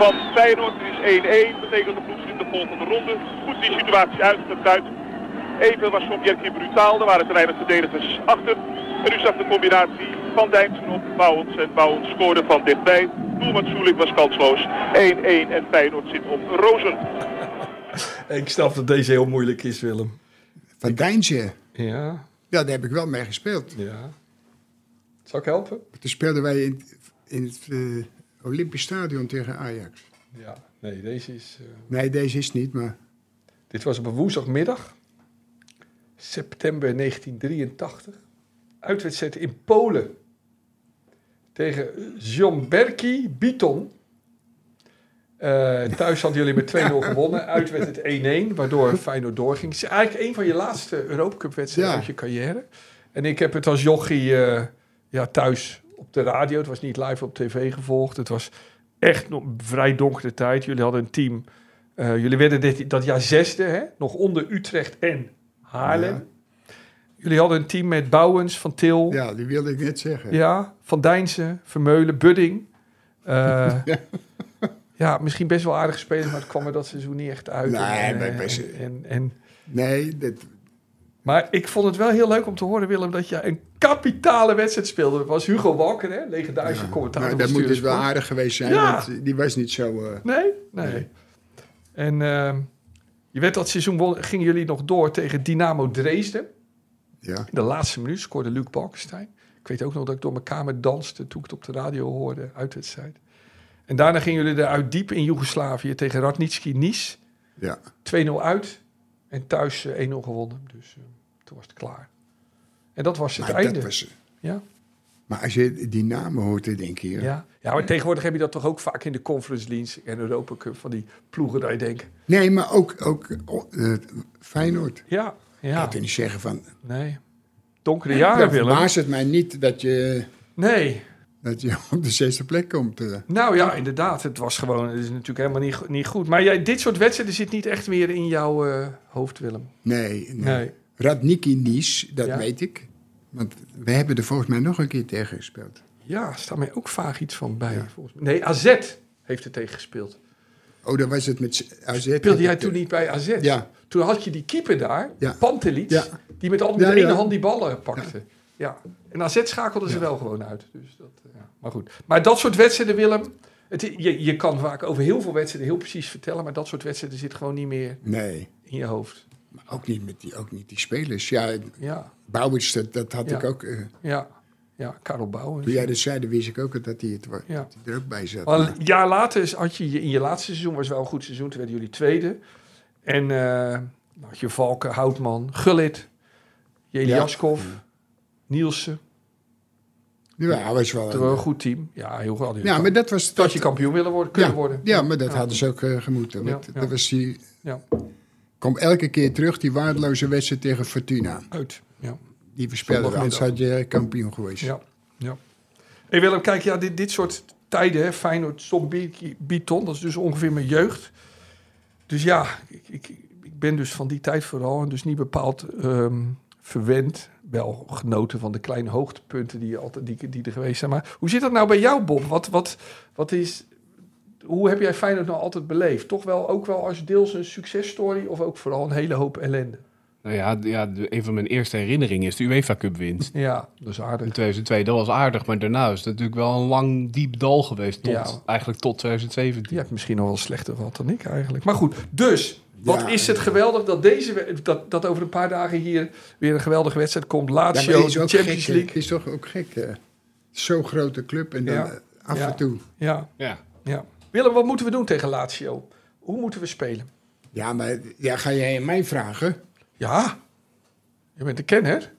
[SPEAKER 7] van Feyenoord. Het is 1-1. Betekent de ploeg zit in de volgende ronde. Goed die situatie uitgebuit. Even was Sobjerkin brutaal. Er waren te weinig verdedigers achter. En nu zag de combinatie van Dijksen op Bouwens. En Bouwens scoorde van dichtbij. Doelman Soelik was kansloos. 1-1 en Feyenoord zit op rozen.
[SPEAKER 2] Ik snap dat deze heel moeilijk is, Willem.
[SPEAKER 3] Van Dijntje,
[SPEAKER 2] Ja,
[SPEAKER 3] ja, daar heb ik wel mee gespeeld.
[SPEAKER 2] ja. Zal ik helpen?
[SPEAKER 3] Toen speelden wij in, in het eh, Olympisch Stadion tegen Ajax.
[SPEAKER 2] Ja, nee, deze is. eh,
[SPEAKER 3] Nee, deze is niet, maar
[SPEAKER 2] Dit was op een woensdagmiddag, september 1983. Uitwedstrijd in Polen tegen Zomberki Biton. Eh, thuis hadden jullie met 2-0 gewonnen. Uit werd het 1-1, waardoor Feyenoord doorging. Het is eigenlijk een van je laatste Europacup-wedstrijden
[SPEAKER 3] Ja.
[SPEAKER 2] uit je carrière. En ik heb het als jochie eh, ja, thuis op de radio. Het was niet live op tv gevolgd. Het was echt nog een vrij donkere tijd. Jullie hadden een team. eh, jullie werden dit, dat jaar zesde, hè? nog onder Utrecht en Haarlem. Jullie hadden een team met Bouwens, Van Til,
[SPEAKER 3] ja, die wilde ik net zeggen.
[SPEAKER 2] Oh. ja, Van Dijnsen, Vermeulen, Budding. Eh, ja. misschien best wel aardige spelers, maar het kwam er dat seizoen niet echt uit.
[SPEAKER 3] Nee,
[SPEAKER 2] En, eh,
[SPEAKER 3] maar best-
[SPEAKER 2] en, en, en-
[SPEAKER 3] Nee, dat,
[SPEAKER 2] maar ik vond het wel heel leuk om te horen, Willem, dat je een kapitale wedstrijd speelde. Dat was Hugo Walker, hè? legendarische commentator.
[SPEAKER 3] nou,
[SPEAKER 2] van
[SPEAKER 3] dat moet dus wel
[SPEAKER 2] Stuursport.
[SPEAKER 3] aardig geweest zijn,
[SPEAKER 2] Ja.
[SPEAKER 3] want die was niet zo... eh,
[SPEAKER 2] Nee? Nee. En ehm, je werd dat seizoen, won- gingen jullie nog door tegen Dynamo Dresden.
[SPEAKER 3] ja.
[SPEAKER 2] In de laatste minuut scoorde Luc Balkenstein. Ik weet ook nog dat ik door mijn kamer danste toen ik het op de radio hoorde, uitwedstrijd. En daarna gingen jullie eruit diep in Joegoslavië tegen Radnitski Nice.
[SPEAKER 3] ja.
[SPEAKER 2] 2-0 uit en thuis eh, 1-0 gewonnen. Dus eh, toen was het klaar. En dat was het
[SPEAKER 3] Maar,
[SPEAKER 2] einde.
[SPEAKER 3] dat was,
[SPEAKER 2] Ja?
[SPEAKER 3] maar als je die namen hoort, dan denk je... Ja,
[SPEAKER 2] Ja. ja, maar tegenwoordig heb je dat toch ook vaak in de Conference League en Europa Cup van die ploegen dat je denkt,
[SPEAKER 3] Nee, maar ook, ook eh, Feyenoord.
[SPEAKER 2] ja, ja,
[SPEAKER 3] Laten we niet zeggen van...
[SPEAKER 2] nee. Donkere jaren,
[SPEAKER 3] dan
[SPEAKER 2] Willem.
[SPEAKER 3] verbaast het mij niet dat je,
[SPEAKER 2] Nee,
[SPEAKER 3] dat je op de zesde plek komt. eh.
[SPEAKER 2] Nou ja, inderdaad. Het was gewoon, het is natuurlijk helemaal niet, go- niet goed. Maar jij, dit soort wedstrijden zit niet echt meer in jouw eh, hoofd, Willem.
[SPEAKER 3] Nee, nee. Radniki Nies, dat
[SPEAKER 2] Ja.
[SPEAKER 3] weet ik. Want we hebben er volgens mij nog een keer tegen gespeeld.
[SPEAKER 2] Ja, staat mij ook vaag iets van bij. Volgens mij. Nee, AZ heeft er tegen gespeeld.
[SPEAKER 3] Oh, dan was het met z- AZ.
[SPEAKER 2] Speelde jij toen niet bij AZ?
[SPEAKER 3] Ja.
[SPEAKER 2] Toen had je die keeper daar,
[SPEAKER 3] Ja.
[SPEAKER 2] Pantelits,
[SPEAKER 3] Ja.
[SPEAKER 2] die met, al, met
[SPEAKER 3] Ja,
[SPEAKER 2] de ene
[SPEAKER 3] ja.
[SPEAKER 2] hand die ballen pakte. Ja. En AZ schakelde ze wel gewoon uit. Dus dat, eh, ja. Maar goed. Maar dat soort wedstrijden, Willem, het, i- je, je kan vaak over heel veel wedstrijden heel precies vertellen, maar dat soort wedstrijden zit gewoon niet meer
[SPEAKER 3] Nee,
[SPEAKER 2] in je hoofd.
[SPEAKER 3] maar ook niet, met die, ook niet die spelers. Ja,
[SPEAKER 2] Ja,
[SPEAKER 3] Bouwens, dat, dat had
[SPEAKER 2] Ja.
[SPEAKER 3] ik ook. eh,
[SPEAKER 2] ja, ja. Karel Bouwens.
[SPEAKER 3] toen jij dat zei, dan wist ik ook dat hij, het, wa-
[SPEAKER 2] Ja.
[SPEAKER 3] dat hij er ook bij zat.
[SPEAKER 2] Maar een jaar later is- had je je- in je laatste seizoen, was wel een goed seizoen, toen werden jullie tweede. En eh, dan had je Valken, Houtman, Gullit, Jeliaskov, Nielsen.
[SPEAKER 3] ja, hij was wel
[SPEAKER 2] Dat was wel
[SPEAKER 3] een,
[SPEAKER 2] een goed team. Ja, heel goed. Hadden jullie
[SPEAKER 3] ja, maar dat was...
[SPEAKER 2] dat je kampioen willen worden, kunnen
[SPEAKER 3] ja,
[SPEAKER 2] worden.
[SPEAKER 3] Ja, maar dat hadden ze ook eh, gemoeten.
[SPEAKER 2] Ja,
[SPEAKER 3] Want
[SPEAKER 2] ja.
[SPEAKER 3] Dat was die...
[SPEAKER 2] Ja.
[SPEAKER 3] Kom elke keer terug, die waardeloze wedstrijd tegen Fortuna.
[SPEAKER 2] Uit. Ja.
[SPEAKER 3] Die verspeelden we, anders had je kampioen geweest.
[SPEAKER 2] Ja, ja. Hey Willem, kijk, ja, dit, dit soort tijden, hè, Feyenoord, Stom, Biton, dat is dus ongeveer mijn jeugd. Dus ja, ik, ik, ik ben dus van die tijd vooral en dus niet bepaald ehm, verwend. Wel genoten van de kleine hoogtepunten die, je altijd, die, die er geweest zijn. Maar hoe zit dat nou bij jou, Bob? Wat, wat, wat is, hoe heb jij Feyenoord nou altijd beleefd? Toch wel ook wel als deels een successtory of ook vooral een hele hoop ellende?
[SPEAKER 5] Nou ja, d- ja, de- een van mijn eerste herinneringen is de UEFA Cup winst.
[SPEAKER 2] Ja, dat is aardig.
[SPEAKER 5] In 2002, dat was aardig, maar daarna is het natuurlijk wel een lang diep dal geweest. Tot,
[SPEAKER 2] Ja.
[SPEAKER 5] Eigenlijk tot 2017.
[SPEAKER 2] Je hebt misschien nog wel slechter wat dan ik eigenlijk. Maar goed, dus wat
[SPEAKER 3] Ja.
[SPEAKER 2] is het geweldig dat, deze, we- dat, dat over een paar dagen hier weer een geweldige wedstrijd komt. Lazio,
[SPEAKER 3] het is ook
[SPEAKER 2] Champions
[SPEAKER 3] gek, hè.
[SPEAKER 2] League.
[SPEAKER 3] Het is toch ook gek, hè? Zo'n grote club en dan
[SPEAKER 2] Ja.
[SPEAKER 3] eh, af
[SPEAKER 2] Ja.
[SPEAKER 3] en toe.
[SPEAKER 2] Ja,
[SPEAKER 5] Ja.
[SPEAKER 2] ja. Willem, wat moeten we doen tegen Lazio? Hoe moeten we spelen?
[SPEAKER 3] Ja, maar ja, ga jij mij vragen?
[SPEAKER 2] Ja, je bent de kenner.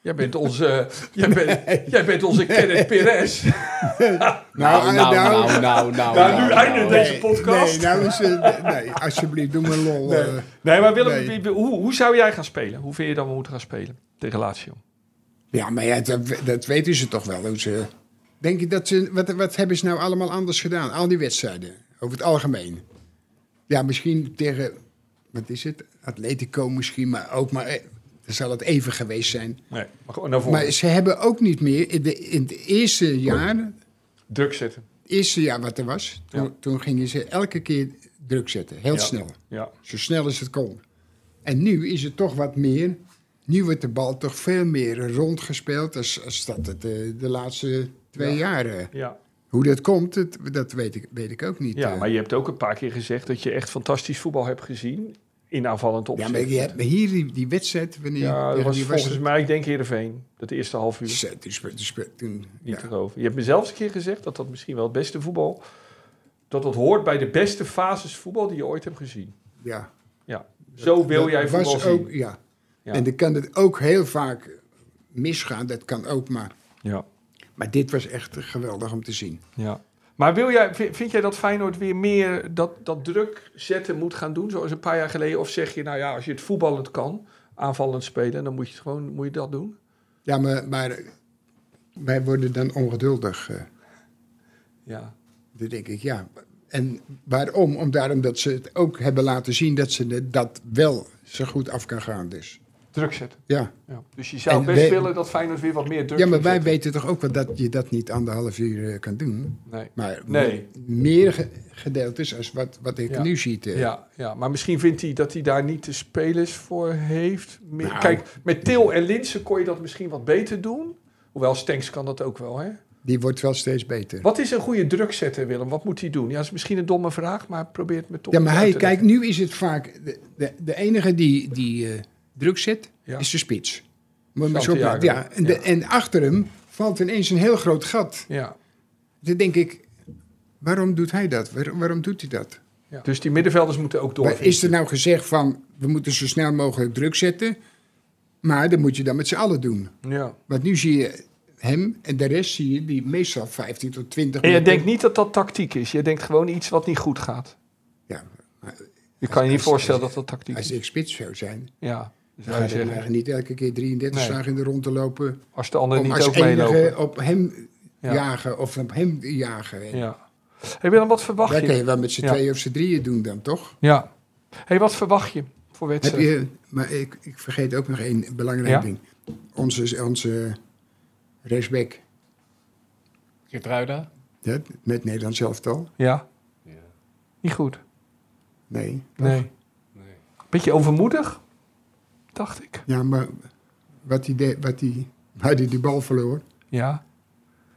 [SPEAKER 2] Jij bent onze, jij bent, jij bent onze Kenneth Perez.
[SPEAKER 5] Nou,
[SPEAKER 3] eh,
[SPEAKER 5] nou, nou, nou, nou.
[SPEAKER 2] Nou, nu
[SPEAKER 5] nou,
[SPEAKER 2] eindigt
[SPEAKER 5] nou.
[SPEAKER 2] deze podcast.
[SPEAKER 3] Nee, nou is, eh, nee, alsjeblieft, doe maar lol. eh.
[SPEAKER 2] Nee, maar Willem,
[SPEAKER 3] Nee.
[SPEAKER 2] wie- wie- hoe, hoe zou jij gaan spelen? Hoe vind je dat we moeten gaan spelen tegen Lazio?
[SPEAKER 3] Ja, maar ja, dat, dat weten ze toch wel. Hoe ze, denk je dat ze, wat, wat hebben ze nou allemaal anders gedaan? Al die wedstrijden, over het algemeen. Ja, misschien tegen, wat is het? Atletico misschien, maar ook maar... eh, Dan zal het even geweest zijn.
[SPEAKER 2] Nee, maar gewoon naar voren.
[SPEAKER 3] Maar ze hebben ook niet meer... In, de, in het eerste
[SPEAKER 2] Oh.
[SPEAKER 3] jaar,
[SPEAKER 2] Druk zetten.
[SPEAKER 3] eerste jaar wat er was... Toen,
[SPEAKER 2] Ja.
[SPEAKER 3] toen gingen ze elke keer druk zetten. Heel
[SPEAKER 2] Ja.
[SPEAKER 3] snel.
[SPEAKER 2] Ja,
[SPEAKER 3] Zo snel als het kon. En nu is het toch wat meer. Nu wordt de bal toch veel meer rondgespeeld als, als dat het eh, de laatste twee
[SPEAKER 2] Ja.
[SPEAKER 3] jaren.
[SPEAKER 2] ja.
[SPEAKER 3] Hoe dat komt, het, dat weet ik, weet ik ook niet.
[SPEAKER 2] ja
[SPEAKER 3] eh.
[SPEAKER 2] maar je hebt ook een paar keer gezegd dat je echt fantastisch voetbal hebt gezien. In aanvallend
[SPEAKER 3] ja,
[SPEAKER 2] opzicht.
[SPEAKER 3] maar je hebt hier die, die wedstrijd. Wanneer,
[SPEAKER 2] Ja, dat
[SPEAKER 3] tegen
[SPEAKER 2] was
[SPEAKER 3] wie
[SPEAKER 2] volgens
[SPEAKER 3] het?
[SPEAKER 2] mij, ik denk Heerenveen. Dat eerste half uur.
[SPEAKER 3] Zo, toen spe- toen spe- toen-
[SPEAKER 2] Niet
[SPEAKER 3] ja.
[SPEAKER 2] te geloven. Je hebt me zelfs een keer gezegd dat dat misschien wel het beste voetbal... dat dat hoort bij de beste fases voetbal die je ooit hebt gezien.
[SPEAKER 3] ja.
[SPEAKER 2] Ja. Zo Oh, wil
[SPEAKER 3] Dat
[SPEAKER 2] jij
[SPEAKER 3] was
[SPEAKER 2] voetbal zien.
[SPEAKER 3] ook, ja.
[SPEAKER 2] Ja.
[SPEAKER 3] En dan kan het ook heel vaak misgaan. Dat kan ook maar.
[SPEAKER 2] Ja.
[SPEAKER 3] Maar dit was echt geweldig om te zien.
[SPEAKER 2] Ja. Maar wil jij, vi- vind jij dat Feyenoord weer meer dat, dat druk zetten moet gaan doen, zoals een paar jaar geleden? Of zeg je, nou ja, als je het voetballend kan, aanvallend spelen, dan moet je, het gewoon, moet je dat doen?
[SPEAKER 3] Ja, maar, maar wij worden dan ongeduldig. eh.
[SPEAKER 2] Ja.
[SPEAKER 3] Dan denk ik, ja. En waarom? Om daarom dat ze het ook hebben laten zien dat ze de- dat wel zo goed af kan gaan. Dus
[SPEAKER 2] Druk zetten.
[SPEAKER 3] ja.
[SPEAKER 2] Ja. Dus je zou
[SPEAKER 3] En
[SPEAKER 2] best
[SPEAKER 3] wij-
[SPEAKER 2] willen dat Feyenoord weer wat meer druk
[SPEAKER 3] Ja, maar
[SPEAKER 2] gaat
[SPEAKER 3] wij
[SPEAKER 2] zetten.
[SPEAKER 3] weten toch ook wel dat je dat niet anderhalf uur eh, kan doen.
[SPEAKER 2] Nee.
[SPEAKER 3] Maar
[SPEAKER 2] Nee.
[SPEAKER 3] me- meer ge- gedeeltes als wat, wat ik
[SPEAKER 2] Ja.
[SPEAKER 3] nu zie. eh.
[SPEAKER 2] Ja, ja, maar misschien vindt hij dat hij daar niet de spelers voor heeft. Me-
[SPEAKER 3] Nou.
[SPEAKER 2] Kijk, met Til en Linsen kon je dat misschien wat beter doen. Hoewel Stenks kan dat ook wel, hè?
[SPEAKER 3] Die wordt wel steeds beter.
[SPEAKER 2] Wat is een goede druk zetten, Willem? Wat moet hij doen? Ja, dat is misschien een domme vraag, maar probeer het me toch
[SPEAKER 3] Ja, maar
[SPEAKER 2] uit
[SPEAKER 3] hij,
[SPEAKER 2] te leggen.
[SPEAKER 3] kijk, nu is het vaak... De, de, de enige die, die eh, druk zet,
[SPEAKER 2] Ja.
[SPEAKER 3] is de spits. Moet je maar zo
[SPEAKER 2] Santiago.
[SPEAKER 3] praten. Ja, en, de-
[SPEAKER 2] Ja.
[SPEAKER 3] en achter hem valt ineens een heel groot gat.
[SPEAKER 2] Ja,
[SPEAKER 3] Dan denk ik, waarom doet hij dat? Waar- waarom doet hij dat?
[SPEAKER 2] ja. Dus die middenvelders moeten ook door.
[SPEAKER 3] Maar is er nou gezegd van, we moeten zo snel mogelijk druk zetten, maar dat moet je dan met z'n allen doen.
[SPEAKER 2] Ja.
[SPEAKER 3] Want nu zie je hem en de rest zie je die meestal 15 tot 20
[SPEAKER 2] En je
[SPEAKER 3] minuten-
[SPEAKER 2] denkt niet dat dat tactiek is. Je denkt gewoon iets wat niet goed gaat.
[SPEAKER 3] Ja,
[SPEAKER 2] Je kan je niet
[SPEAKER 3] als-
[SPEAKER 2] voorstellen dat dat tactiek
[SPEAKER 3] als
[SPEAKER 2] is.
[SPEAKER 3] ik spits zou zijn,
[SPEAKER 2] Ja. Dus
[SPEAKER 3] dan
[SPEAKER 2] ga
[SPEAKER 3] ga
[SPEAKER 2] je
[SPEAKER 3] je
[SPEAKER 2] zeggen,
[SPEAKER 3] maar niet elke keer 33
[SPEAKER 2] Nee.
[SPEAKER 3] slagen in de rond te lopen.
[SPEAKER 2] als de ander
[SPEAKER 3] Om
[SPEAKER 2] niet
[SPEAKER 3] als
[SPEAKER 2] ook
[SPEAKER 3] enige
[SPEAKER 2] meelopen.
[SPEAKER 3] op hem
[SPEAKER 2] Ja.
[SPEAKER 3] jagen of op hem jagen. En
[SPEAKER 2] Ja. Hey Willem, wat verwacht
[SPEAKER 3] Dat kan
[SPEAKER 2] je?
[SPEAKER 3] je wel met z'n
[SPEAKER 2] Ja.
[SPEAKER 3] tweeën of z'n drieën doen dan, toch?
[SPEAKER 2] Ja. Hey, wat verwacht je voor
[SPEAKER 3] Heb
[SPEAKER 2] wedstrijd?
[SPEAKER 3] je, maar ik, ik vergeet ook nog één belangrijk
[SPEAKER 2] Ja?
[SPEAKER 3] ding. Onze, onze rechtsback
[SPEAKER 5] Geertruida?
[SPEAKER 3] hè, met Nederland zelf al.
[SPEAKER 2] Ja.
[SPEAKER 5] Ja.
[SPEAKER 2] Niet goed.
[SPEAKER 3] Nee.
[SPEAKER 2] Nee.
[SPEAKER 5] Nee.
[SPEAKER 2] Beetje overmoedig, dacht ik.
[SPEAKER 3] Ja, maar wat hij deed- wat hij, waar hij die bal verloor,
[SPEAKER 2] Ja.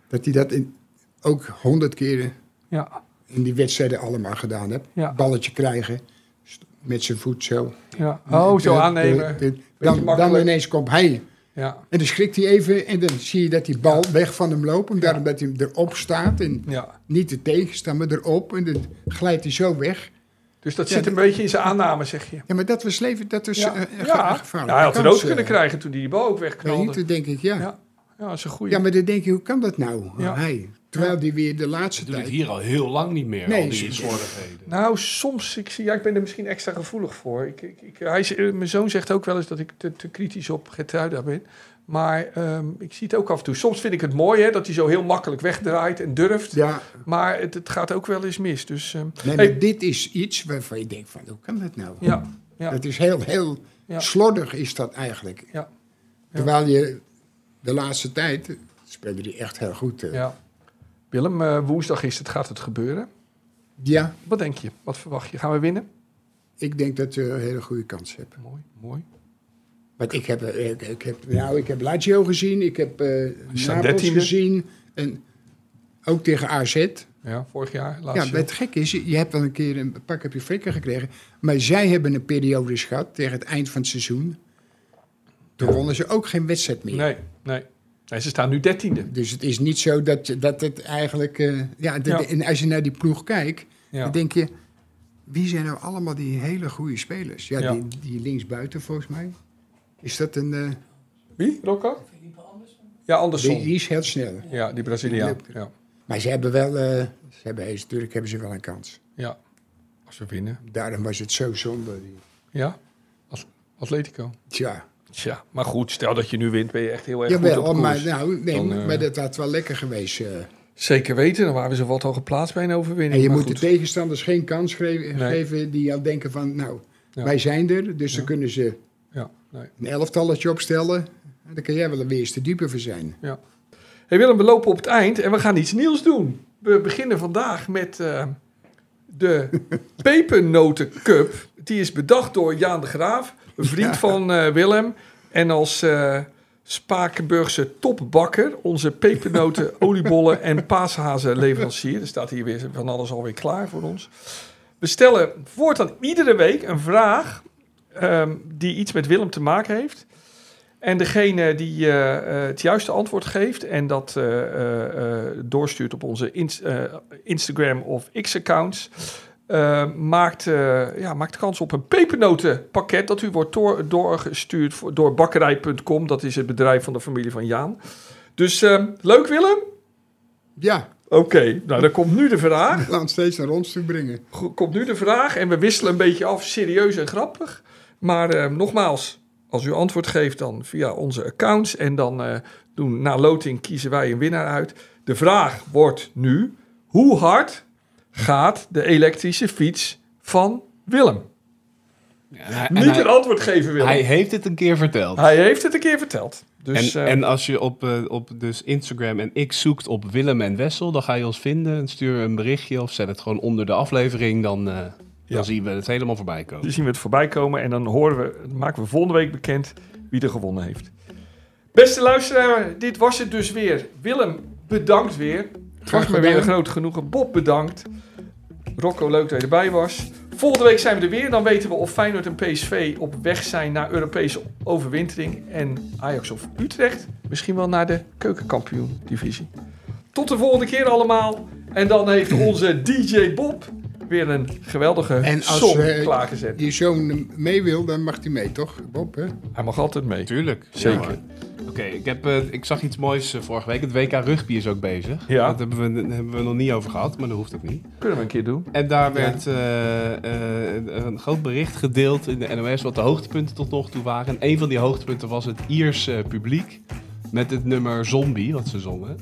[SPEAKER 3] dat hij dat in, ook honderd keren
[SPEAKER 2] Ja.
[SPEAKER 3] in die wedstrijden allemaal gedaan heeft.
[SPEAKER 2] Ja.
[SPEAKER 3] Balletje krijgen, st- met zijn voet zo.
[SPEAKER 2] ja. Oh, zo
[SPEAKER 3] Eh,
[SPEAKER 2] aannemen.
[SPEAKER 3] eh, eh, Dan, dan
[SPEAKER 2] makkelijk.
[SPEAKER 3] ineens komt hij.
[SPEAKER 2] Ja.
[SPEAKER 3] En dan schrikt hij even en dan zie je dat die bal weg van hem loopt. Omdat dat hij erop staat en
[SPEAKER 2] Ja.
[SPEAKER 3] niet te tegenstaan, maar erop. En dan glijdt hij zo weg.
[SPEAKER 2] Dus dat
[SPEAKER 3] Ja,
[SPEAKER 2] zit een
[SPEAKER 3] dat-
[SPEAKER 2] beetje in zijn aanname, zeg je.
[SPEAKER 3] Ja, maar dat was leven, dat was
[SPEAKER 2] Ja,
[SPEAKER 3] eh, een
[SPEAKER 2] ja.
[SPEAKER 3] ge- gevaarlijke
[SPEAKER 2] Ja, hij had
[SPEAKER 3] kans,
[SPEAKER 2] rood
[SPEAKER 3] eh.
[SPEAKER 2] kunnen krijgen toen hij die bal ook wegknalde.
[SPEAKER 3] Weet je, toen denk ik, ja.
[SPEAKER 2] Ja. Ja, dat is een goede.
[SPEAKER 3] Ja, maar dan denk je, hoe kan dat nou?
[SPEAKER 2] Ja.
[SPEAKER 3] Hij. Terwijl die weer de laatste
[SPEAKER 5] Ze doen het
[SPEAKER 3] tijd...
[SPEAKER 5] hier al heel lang niet meer,
[SPEAKER 3] Nee,
[SPEAKER 5] al die
[SPEAKER 3] ze-
[SPEAKER 5] slordigheden.
[SPEAKER 2] Nou, soms, ik, zie, ja, ik ben er misschien extra gevoelig voor. Ik, ik, ik- hij, is- eh, mijn zoon zegt ook wel eens dat ik te, te kritisch op Getruida ben. Maar ehm, ik zie het ook af en toe. Soms vind ik het mooi hè, dat hij zo heel makkelijk wegdraait en durft.
[SPEAKER 3] Ja,
[SPEAKER 2] Maar het, het gaat ook wel eens mis. Dus, ehm,
[SPEAKER 3] nee, maar
[SPEAKER 2] hey,
[SPEAKER 3] dit is iets waarvan je denkt van, hoe kan dat nou?
[SPEAKER 2] ja, ja.
[SPEAKER 3] Dat is heel, heel
[SPEAKER 2] Ja.
[SPEAKER 3] slordig is dat eigenlijk.
[SPEAKER 2] Ja.
[SPEAKER 3] Terwijl je de laatste tijd eh, speelde die echt heel goed. eh.
[SPEAKER 2] ja. Willem, eh, woensdag is het, gaat het gebeuren.
[SPEAKER 3] Ja,
[SPEAKER 2] Wat denk je? Wat verwacht je? Gaan we winnen?
[SPEAKER 3] ik denk dat we een hele goede kans hebben.
[SPEAKER 2] Mooi, mooi.
[SPEAKER 3] Want ik heb, eh, ik, ik heb, nou, ik heb Lazio gezien, ik heb eh
[SPEAKER 2] staan
[SPEAKER 3] Napels
[SPEAKER 2] dertiende.
[SPEAKER 3] gezien. En ook tegen AZ.
[SPEAKER 2] Ja, vorig jaar,
[SPEAKER 3] ja,
[SPEAKER 2] laatst.
[SPEAKER 3] maar het gekke is, je hebt wel een keer een pak heb je flikker gekregen. Maar zij hebben een periode gehad tegen het eind van het seizoen. Toen wonnen ze ook geen wedstrijd meer.
[SPEAKER 2] nee, nee, nee. Ze staan nu dertiende.
[SPEAKER 3] Dus het is niet zo dat, je- dat het eigenlijk... eh, ja, de-
[SPEAKER 2] Ja.
[SPEAKER 3] de- en als je naar die ploeg kijkt,
[SPEAKER 2] Ja.
[SPEAKER 3] dan denk je... Wie zijn nou allemaal die hele goede spelers? Ja,
[SPEAKER 2] Ja.
[SPEAKER 3] Die, die linksbuiten volgens mij. Is dat een... eh,
[SPEAKER 2] Wie, Rocco? Ja,
[SPEAKER 3] die,
[SPEAKER 2] Andersson.
[SPEAKER 3] die is heel snel.
[SPEAKER 2] Ja, die Braziliaan. Ja,
[SPEAKER 3] Maar ze hebben wel... eh, ze hebben, eens- natuurlijk hebben ze wel een kans.
[SPEAKER 2] ja. Als we winnen.
[SPEAKER 3] Daarom was het zo zonde. die-
[SPEAKER 2] Ja, At- Atletico.
[SPEAKER 3] Tja.
[SPEAKER 2] Tja, maar goed, stel dat je nu wint, ben je echt heel erg goed
[SPEAKER 3] Jawel,
[SPEAKER 2] op
[SPEAKER 3] maar,
[SPEAKER 2] koers.
[SPEAKER 3] nou, nee,
[SPEAKER 2] Dan, eh,
[SPEAKER 3] maar dat had wel lekker geweest. eh.
[SPEAKER 2] Zeker weten, dan waren we zo wat al geplaatst bij een overwinning.
[SPEAKER 3] En je
[SPEAKER 2] maar
[SPEAKER 3] moet
[SPEAKER 2] goed.
[SPEAKER 3] de tegenstanders geen kans geven,
[SPEAKER 2] Nee.
[SPEAKER 3] geven die al denken van... Nou,
[SPEAKER 2] Ja.
[SPEAKER 3] wij zijn er, dus dan kunnen ze...
[SPEAKER 2] Ja, nee.
[SPEAKER 3] een elftalletje opstellen. En dan kan jij wel een weerste dieper voor zijn.
[SPEAKER 2] Hey Willem, we lopen op het eind en we gaan iets nieuws doen. We beginnen vandaag met eh, de pepernotencup. Die is bedacht door Jaan de Graaf, een vriend van eh, Willem. En als eh, Spakenburgse topbakker, onze pepernoten, oliebollen en paashazen leverancier. Er staat hier weer van alles alweer klaar voor ons. We stellen voortaan iedere week een vraag ehm, die iets met Willem te maken heeft. En degene die eh, eh, het juiste antwoord geeft en dat eh, eh, eh, doorstuurt op onze ins- eh, Instagram of X-accounts, eh, maakt, eh, ja, maakt kans op een pepernotenpakket dat u wordt door- doorgestuurd voor- door bakkerij.com. Dat is het bedrijf van de familie van Jaan. Dus eh, leuk Willem?
[SPEAKER 3] Ja,
[SPEAKER 2] Oké, nou dan komt nu de vraag.
[SPEAKER 3] laat het steeds naar ons toe brengen.
[SPEAKER 2] Goed, komt nu de vraag en we wisselen een beetje af, serieus en grappig. Maar eh, nogmaals, als u antwoord geeft dan via onze accounts en dan eh, doen, na loting kiezen wij een winnaar uit. De vraag wordt nu, hoe hard gaat de elektrische fiets van Willem?
[SPEAKER 5] En hij, en
[SPEAKER 2] Niet
[SPEAKER 5] hij,
[SPEAKER 2] een antwoord geven Willem.
[SPEAKER 5] hij
[SPEAKER 2] Hij,
[SPEAKER 5] heeft het een keer verteld.
[SPEAKER 2] heeft het een keer verteld. Ah, Dus,
[SPEAKER 5] en,
[SPEAKER 2] eh,
[SPEAKER 5] en als je op, eh, op dus Instagram en X zoekt op Willem en Wessel, dan ga je ons vinden. En stuur een berichtje of zet het gewoon onder de aflevering. Dan, eh,
[SPEAKER 2] Ja.
[SPEAKER 5] dan zien we het helemaal voorbij komen.
[SPEAKER 2] Dan Dus zien we het voorbij komen en dan horen we, dan maken we volgende week bekend wie er gewonnen heeft. Beste luisteraar, dit was het dus weer. Willem, bedankt weer. Het was
[SPEAKER 3] Graag
[SPEAKER 2] me weer een
[SPEAKER 3] gedaan.
[SPEAKER 2] groot genoegen. Bob, bedankt. Rocco, leuk dat je erbij was. Volgende week zijn we er weer. Dan weten we of Feyenoord en PSV op weg zijn naar Europese overwintering. En Ajax of Utrecht misschien wel naar de keukenkampioen-divisie. Tot de volgende keer allemaal. En dan heeft onze DJ Bob weer een geweldige
[SPEAKER 3] En als
[SPEAKER 2] song
[SPEAKER 3] eh,
[SPEAKER 2] klaargezet.
[SPEAKER 3] je zoon mee wil, dan mag hij mee, toch? Bob, hè?
[SPEAKER 2] Hij mag altijd mee.
[SPEAKER 5] Tuurlijk.
[SPEAKER 2] Zeker.
[SPEAKER 5] Ja, maar. Oké, ik ik, ik zag iets moois eh, vorige week. Het WK Rugby is ook bezig.
[SPEAKER 2] Ja.
[SPEAKER 5] Dat hebben we, daar hebben we nog niet over gehad, maar dat hoeft ook niet.
[SPEAKER 2] Kunnen we een keer doen.
[SPEAKER 5] En daar werd eh, eh, een groot bericht gedeeld in de NOS wat de hoogtepunten tot nog toe waren. En een van die hoogtepunten was het Iers eh, publiek met het nummer Zombie, wat ze zongen.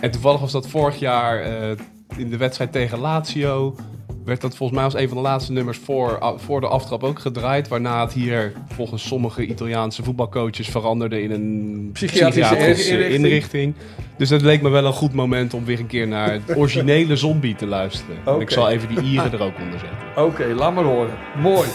[SPEAKER 5] En toevallig was dat vorig jaar eh, in de wedstrijd tegen Lazio. Werd dat volgens mij als een van de laatste nummers voor, a- voor de aftrap ook gedraaid. Waarna het hier volgens sommige Italiaanse voetbalcoaches veranderde in een
[SPEAKER 2] Psychiatrische inrichting.
[SPEAKER 5] inrichting. Dus dat leek me wel een goed moment om weer een keer naar het originele zombie te luisteren. En Ik
[SPEAKER 2] Oké.
[SPEAKER 5] zal even die Ieren er ook onder zetten.
[SPEAKER 2] Oké, laat maar horen. Mooi.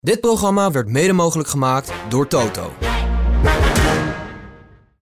[SPEAKER 1] Dit programma werd mede mogelijk gemaakt door Toto.